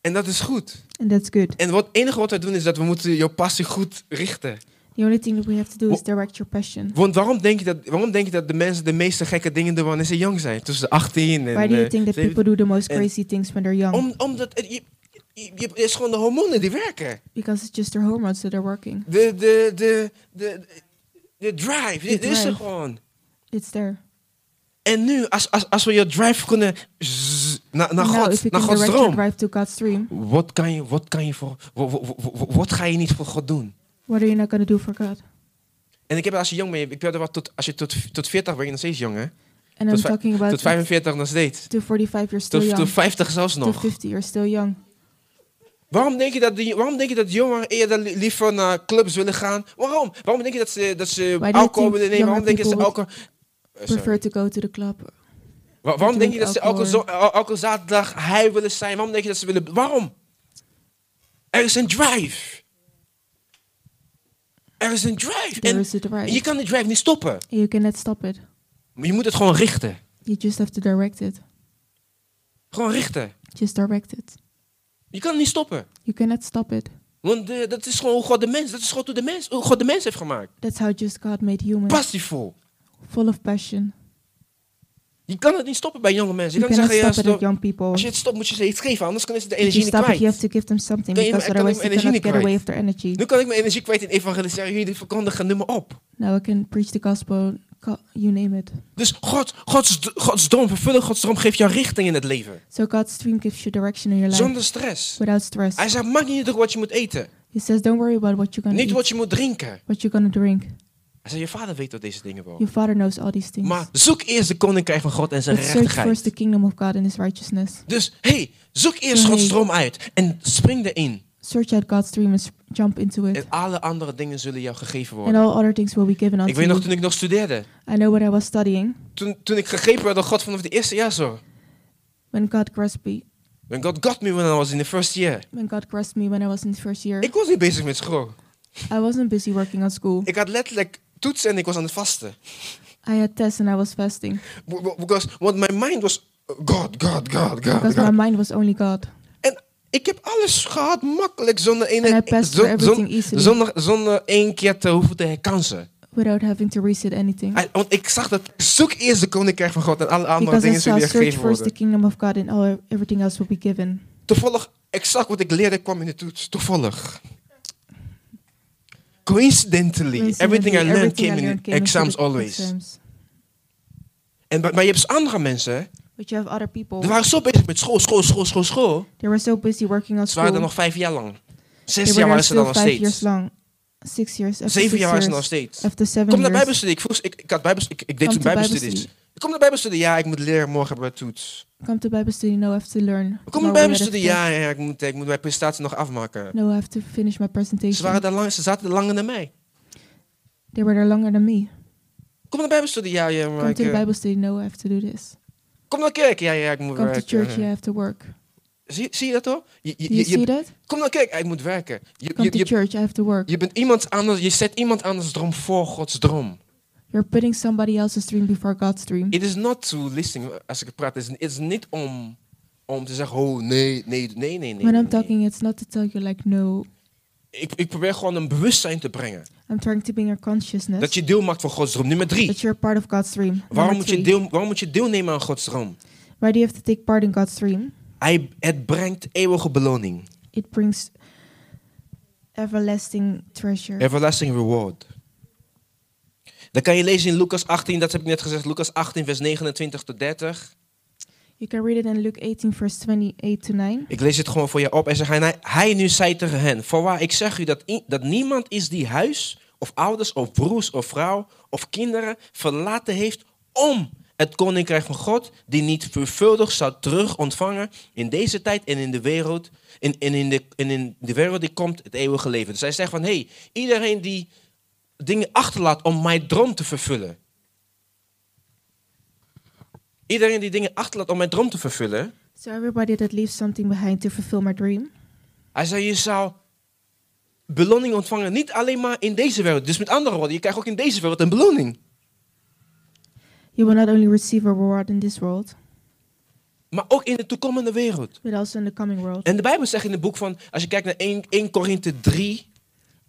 En dat is goed. And that's good. En wat enige wat we doen is dat we moeten jouw passie goed richten. The only thing that we have to do is direct your passion. Want waarom denk je dat, waarom denk je dat de mensen de meeste gekke dingen doen wanneer ze jong zijn? Tussen de 18 en... Why do you eh, think that 17? people do the most and- crazy things when they're young? Om, omdat het, je, je, je- het is gewoon de hormonen die werken. Because it's just their hormones that are working. De, de, de, de, de, drive, dit is er drive. gewoon. It's there. En nu, als, als, als we je drive kunnen zzz, naar, naar, And now, God, if you naar can Gods direct your droom. drive to God's dream, Wat kan je, wat kan je voor, wa- wa- wa- wa- wat, ga je niet voor God doen? what are you not going to do for God? En ik heb als je jong bent, ik weet wat, tot, als je tot, tot 40 ben je nog steeds jong hè? And Tot I'm fi- talking about Tot 45 nog steeds. to 45, you're still Tot, tot young. 50 zelfs To nog. 50, you're still young. Waarom denk je dat, die, waarom denk je dat jongeren eerder li- liever naar clubs willen gaan? Waarom? Waarom denk je dat ze, dat ze do you alcohol think willen nemen? Waarom younger denk je dat ze people alcohol... Eh, sorry. Prefer to go to the club. Wa- waarom denk je dat ze drink alcohol, zo- al- alcohol zaterdag hij willen zijn? Waarom denk je dat ze willen... Waarom? Er is een drive. Er is een drive. There En is a drive. je kan die drive niet stoppen. And you cannot stop it. Maar je moet het gewoon richten. You just have to direct it. Gewoon richten. Just direct it. Je kan het niet stoppen. You cannot stop it. Want eh, dat is gewoon hoe God de mens... Dat is gewoon hoe, de mens, hoe God de mens heeft gemaakt. Mm. That's how just God made humans. Passievol. Full of passion. Je kan het niet stoppen bij jonge mensen. You Je kan niet cannot zeggen, ja, stop it at stop. young people. als je het stopt moet je ze iets geven, anders kunnen ze de If energie you niet stop it, you have kwijt. to give them something Kan je- because kan je otherwise mijn they energie niet cannot get away kwijt? with their energy. Nu kan ik mijn energie kwijt in evangeliseren, jullie verkondigen, noem maar op. Now I can preach the gospel, co- you name it. Dus God, Gods, Gods droom, vervullen Gods droom, geeft jou richting in het leven. So God's dream gives you direction in your life Zonder stress. without Hij stress. zegt, maak niet uit wat je moet eten. He says, don't worry about what you're gonna Niet eat, wat je moet drinken. what you're gonna drink. Hij zei, je vader weet dat deze dingen wel. Your father knows all these things. Maar zoek eerst de koninkrijk van God en zijn But search first rechtigheid. the kingdom of God and His righteousness. Dus, hey, zoek eerst Hey. Gods droom uit en spring erin. Search out God's dream and s- jump into it, En alle andere dingen zullen jou gegeven and worden. all other things will be given Ik unto weet nog, you. toen ik nog studeerde. I know what I was studying Toen, toen ik gegrepen werd door God vanaf de eerste jaar zo. when God grasped me. When God got me when I was in the first year. When God grasped me when I was in the first year, Ik was niet bezig met school. I wasn't busy working on school. Ik had letterlijk toetsen en ik was aan het vasten. I had tests and I was fasting B- b- Because what my mind was God, God, God, God, because my God. mind was only God. En ik heb alles gehad makkelijk zonder één And I passed through zon- zon- everything easily. zonder, zonder één keer te hoeven te herkansen. without having to reset anything. En- Want ik zag dat zoek eerst de koninkrijk van God en alle andere Because I dingen shall zullen je search gegeven first the worden. kingdom of God and all everything else will be given. Toevallig, exact wat ik leerde kwam in de toets. Toevallig. Coincidentally, everything I learned Everything came in learned came exams into the always. exams. En, maar maar je hebt dus andere mensen, But you have other people. die waren zo bezig met school, school, school, school, school. They were so busy working on Ze waren er school. nog vijf jaar lang. They Zes were jaar there waren ze dan still nog five years steeds. long. Six years. After Zeven six jaar waren ze years. nog steeds. After seven Kom naar years. Bijbelstudie. Ik, vroeg, ze- ik, ik, had bijbels, ik, ik deed Kom toen te Bijbelstudies. Bijbelstudie. Ik kom naar Bijbelstudie. Ja, ik moet leren. Morgen hebben we toets. Come to Bible study. No, I have to learn. Ik kom naar Tomorrow I have Bijbelstudie. to- Ja, ja ik, moet, ik moet mijn presentatie nog afmaken. No, I have to finish my Ze, waren presentation. daar lang, ze zaten er langer dan mij. They were there longer than me. Kom naar Bijbelstudie. Ja, ja, maar Come ik, to the eh, Bible study. No, I have to do this. Kom naar kerk. Ja, ja, ik moet Come to werken. church. Yeah, I have to work. Zie, zie je dat hoor? Je, je- Do you je- je- see that? kom naar kerk. Ja, ik moet werken. Je, Come je, to je, church. I have to work. je bent iemand anders. Je zet iemand anders droom voor Gods droom. You're putting somebody else's dream before God's dream. It is not to listen. Als ik praat, het is, het is niet om, om te zeggen: oh nee, nee, nee, nee. nee When nee, I'm nee. talking, it's not to tell you like no. Ik, ik probeer gewoon een bewustzijn te brengen. I'm trying to bring your consciousness Dat je deel maakt van Gods droom. Nummer drie. that you're part of God's dream. Waarom Number moet, je three. deel, waarom moet je deelnemen aan Gods droom? Why do you have to take part in God's dream? Hij, het brengt eeuwige beloning. It brings everlasting treasure. Everlasting reward. Dat kan je lezen in Lucas 18, dat heb ik net gezegd. Lucas 18, vers 29 tot 30. you can read it in Luke 18, verse 28 to 9. Ik lees het gewoon voor je op. En zeg hij, hij nu zei tegen hen: Voorwaar, ik zeg u dat, i- dat niemand is die huis, of ouders, of broers, of vrouw, of kinderen verlaten heeft om het koninkrijk van God, die niet vervuldig zou terug ontvangen in deze tijd en in de wereld, in, in, in, de, in, in de wereld die komt, het eeuwige leven. Dus hij zegt van, hé, hey, iedereen die dingen achterlaat om mijn droom te vervullen. Iedereen die dingen achterlaat om mijn droom te vervullen, So everybody that leaves something behind to fulfill my dream, Hij zei, je zou beloning ontvangen niet alleen maar in deze wereld. Dus met andere woorden, je krijgt ook in deze wereld een beloning. you will not only receive a reward in this world, Maar ook in de toekomende wereld. but also in the coming world. En de Bijbel zegt in het boek van, als je kijkt naar 1, 1 Korinthe 3,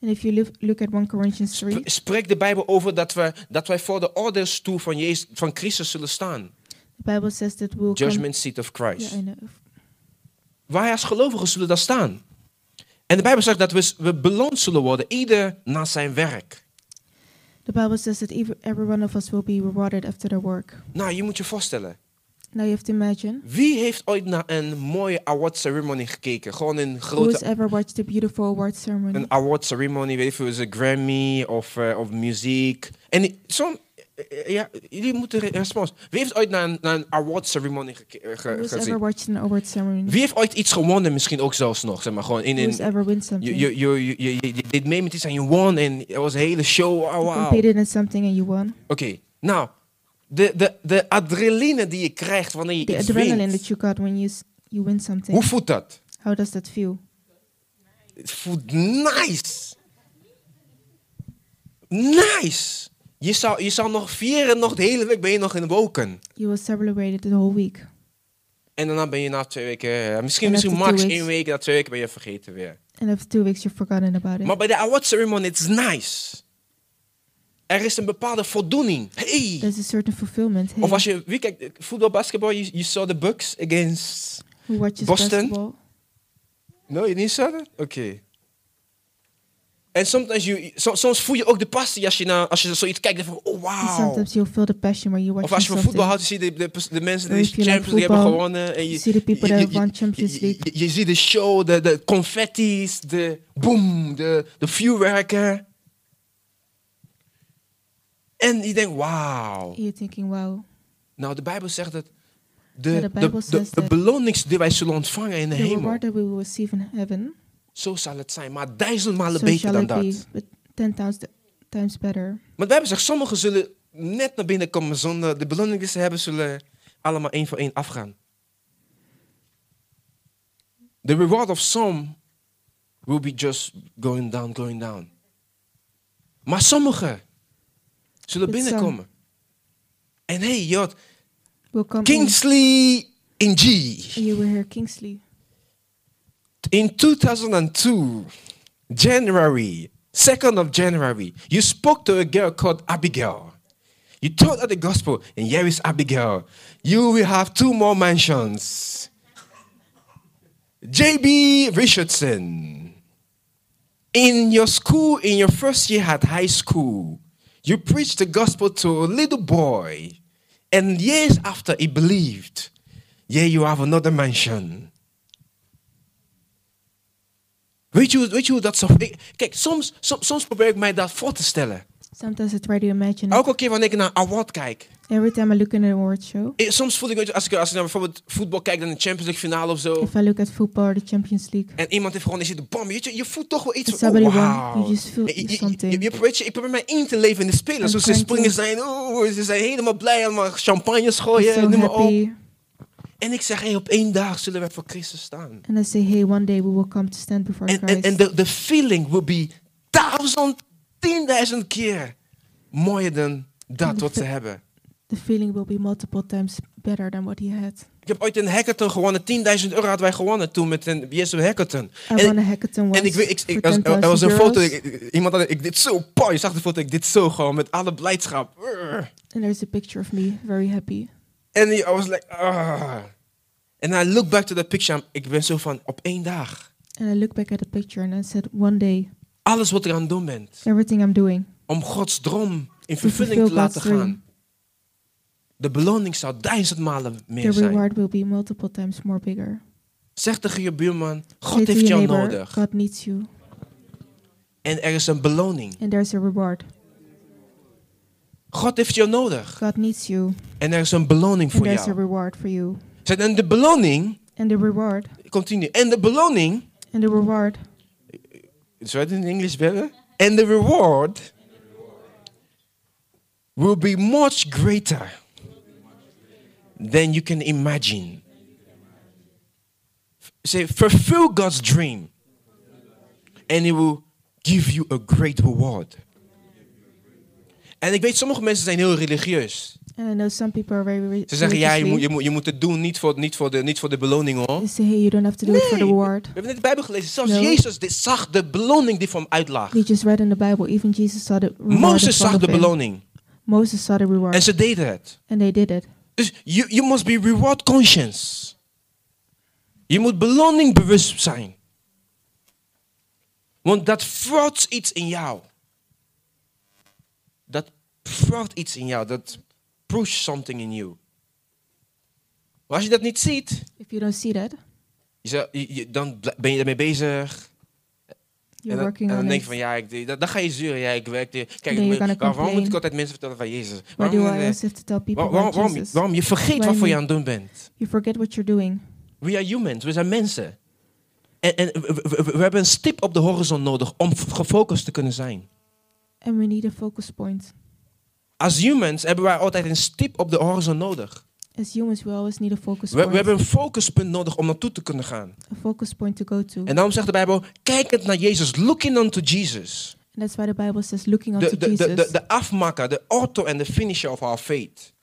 And if you live, look at 1 Corinthians 3, sp- spreekt de Bijbel over dat, we, dat wij voor de oordeelstoel van, Jezus, van Christus zullen staan. the Bible says that we'll Judgment seat of come... Yeah, Christ. I know. Wij als gelovigen zullen daar staan. En de Bijbel zegt dat we, we beloond zullen worden, ieder na zijn werk. The Bible says that ev- every one of us will be rewarded after their work. Nou, je moet je voorstellen. Now you have to imagine Wie heeft ooit naar een mooie award ceremony gekeken? Gewoon een who's grote ever watched the beautiful award ceremony. een award ceremony, weet ik veel, is een Grammy of, eh, of muziek. En die- zo'n, eh, eh, ja, jullie moeten re- respons. Wie heeft ooit naar een, naar een award ceremony geke- eh, ge- who's ever gezien? watched an award ceremony. Wie heeft ooit iets gewonnen, misschien ook zelfs nog, zeg maar, gewoon in who's een... ever win something. Je, je, je, je, je, je deed mee met iets en je won en het was een hele show. Oh, You wow. Oké, competed in something and you won. nou, de, de, de adrenaline die je krijgt wanneer je The iets adrenaline wint, that you got when you s- you win something. hoe voelt dat? How does that feel? Het voelt nice. Nice. Je zou, je zou nog vieren, nog de hele week ben je nog in de wolken. You will celebrate it the whole week. En daarna ben je na twee weken, eh, misschien, misschien En after two max weeks. één week, na twee weken ben je vergeten weer. And after two weeks, you've forgotten about it. Maar bij de award ceremony, it's nice. Er is een bepaalde voldoening. Hey! There's a certain fulfillment. Hey, Of als je, wie kijkt, voetbal, basketbal, you, you saw the Bucks against... who watches Boston? basketball? No, je niet saw that? Oké. En sometimes you, so- soms voel je ook de passie als je, naar, als je zoiets kijkt. en van, oh And wow. sometimes you'll feel the passion when you watch Of als je van something. voetbal houdt, zie je de, de, de mensen Or die if you like Champions League hebben football, gewonnen. En je, you see the people je- that je- have won Champions je- League. Je, je ziet de show, de, de confetti's, de boom, de, de vuurwerken. En je denkt, wauw. You're thinking, wow, Nou, de Bijbel zegt dat Ja, de, de de, Bijbel de, zegt de dat- beloningsdeur die wij zullen ontvangen in de the hemel. reward that we will receive in heaven, Zo zal het zijn, maar duizend malen so beter shall dan it dat. be, but ten times, times better. Maar de Bijbel zegt, sommigen zullen net naar binnen komen zonder de beloning die ze hebben, zullen allemaal één voor één afgaan. The reward of some will be just going down, going down. Maar sommigen zullen But some- binnenkomen. En hey, je hoort We'll come Kingsley in G. in. You will hear Kingsley. In 2002, January, 2nd of January, you spoke to a girl called Abigail. You told her the gospel, and here is Abigail. You will have two more mansions. JB Richardson. In your school, in your first year at high school, you preached the gospel to a little boy, and years after he believed, yeah, you have another mansion. Weet je, hoe- weet je hoe dat zo... ik- kijk, soms, som- soms probeer ik mij dat voor te stellen. Mm. Sometimes I try to imagine. it. Elke keer wanneer ik naar een award kijk. Every time I look in an award show, eh, Soms voel ik, weet je, als ik, als ik naar bijvoorbeeld voetbal kijk, dan de Champions League finale of zo. if I look at football or the Champions League, En iemand heeft gewoon, is zit de bom. Weet je, je voelt toch wel iets If van, oh, somebody won, wauw. you just feel Je- je- je- something. je- je- weet je, ik probeer mij in te leven in de spelers. I'm Hoe ze trying to- springen zijn, oh, ze zijn helemaal blij. Allemaal champagne I'm gooien, so noem maar op. happy. En ik zeg, hey, op één dag zullen wij voor Christus staan. And I say, hey, one day we will come to stand before En en- Christ. en de de feeling will be duizend, tienduizend keer mooier dan dat wat ze hebben. the feeling will be multiple times better than what he had. Ik heb ooit een hackathon gewonnen. 10.000 euro hadden wij gewonnen toen met een Jesu hackathon. I En- won a hackathon once En ik, weet- ik, ik, er, for was- er 10,000 was een euros. foto, ik, ik- iemand had, ik dit zo, pow, je zag de foto, ik dit zo gewoon met alle blijdschap. Urgh. And there's a picture of me, very happy. En I was like, ah. And I look back to that picture, ik ben zo van, op één dag. And I look back at the picture and I said, one day, Alles wat ik aan het doen ben, everything I'm doing, om Gods droom in fulfill vervulling te God's laten dream. gaan. De beloning zou duizend malen the meer zijn. reward will be multiple times more bigger. Zeg tegen je buurman, Say God to heeft your jou neighbor, nodig. God needs you. En er is een beloning. And there's a reward. God heeft jou nodig. God needs you. En er is een beloning And voor there's a jou. reward for you. Zeg, En de beloning, And the reward. continue. En de beloning And the reward. Zou je het in Engels bellen? And the reward will be much greater than you can imagine. Say, fulfill God's dream, and it will give you a great reward. En ik weet, sommige mensen zijn heel religieus. And I know some people are very re- Ze zeggen, ja, je moet, religiously. je moet, je moet het doen, niet voor, niet voor, de, niet voor de beloning hoor. They say, hey, you don't have to do it for the Nee, we reward. hebben net de Bijbel gelezen. Zelfs No. Jezus dit zag de beloning die voor hem uitlag. We just read in the Bible, even Jesus saw the reward. in Mozes front zag of de him. beloning Moses saw the reward. en ze deden het. And they did it. Dus you, you must be reward conscious. Je moet beloning bewust zijn. Want dat vraagt iets in jou. Dat vraagt iets in jou. Dat push something in you. Maar als je dat niet ziet, If you don't see that, je zou- je- je- dan bl- ben je daarmee bezig. you're en dan, working en dan on denk it. je van ja, ik, dan, dan ga je zuren. Ja, ik werk. Kijk, you're men- gonna waarom moet complain. ik altijd mensen vertellen van Jezus? Why do Waarom- I always have to tell people Waar- waarom, about waarom, Jesus? waarom? Je vergeet wat Waarom voor je niet? aan het doen bent. You forget what you're doing. We are humans, we zijn mensen. En, en we, we- we- we hebben een stip op de horizon nodig om f- gefocust te kunnen zijn. And we need a focus point. Als humans hebben wij altijd een stip op de horizon nodig. As humans, we always need a focus We, point. we hebben een focuspunt nodig om naartoe te kunnen gaan. a focus point to go to. En daarom zegt de Bijbel, kijkend naar Jezus, looking unto Jesus. And that's why the Bible says, looking De, unto de, de, Jesus, de, de afmaker, de auto en de finisher of our faith.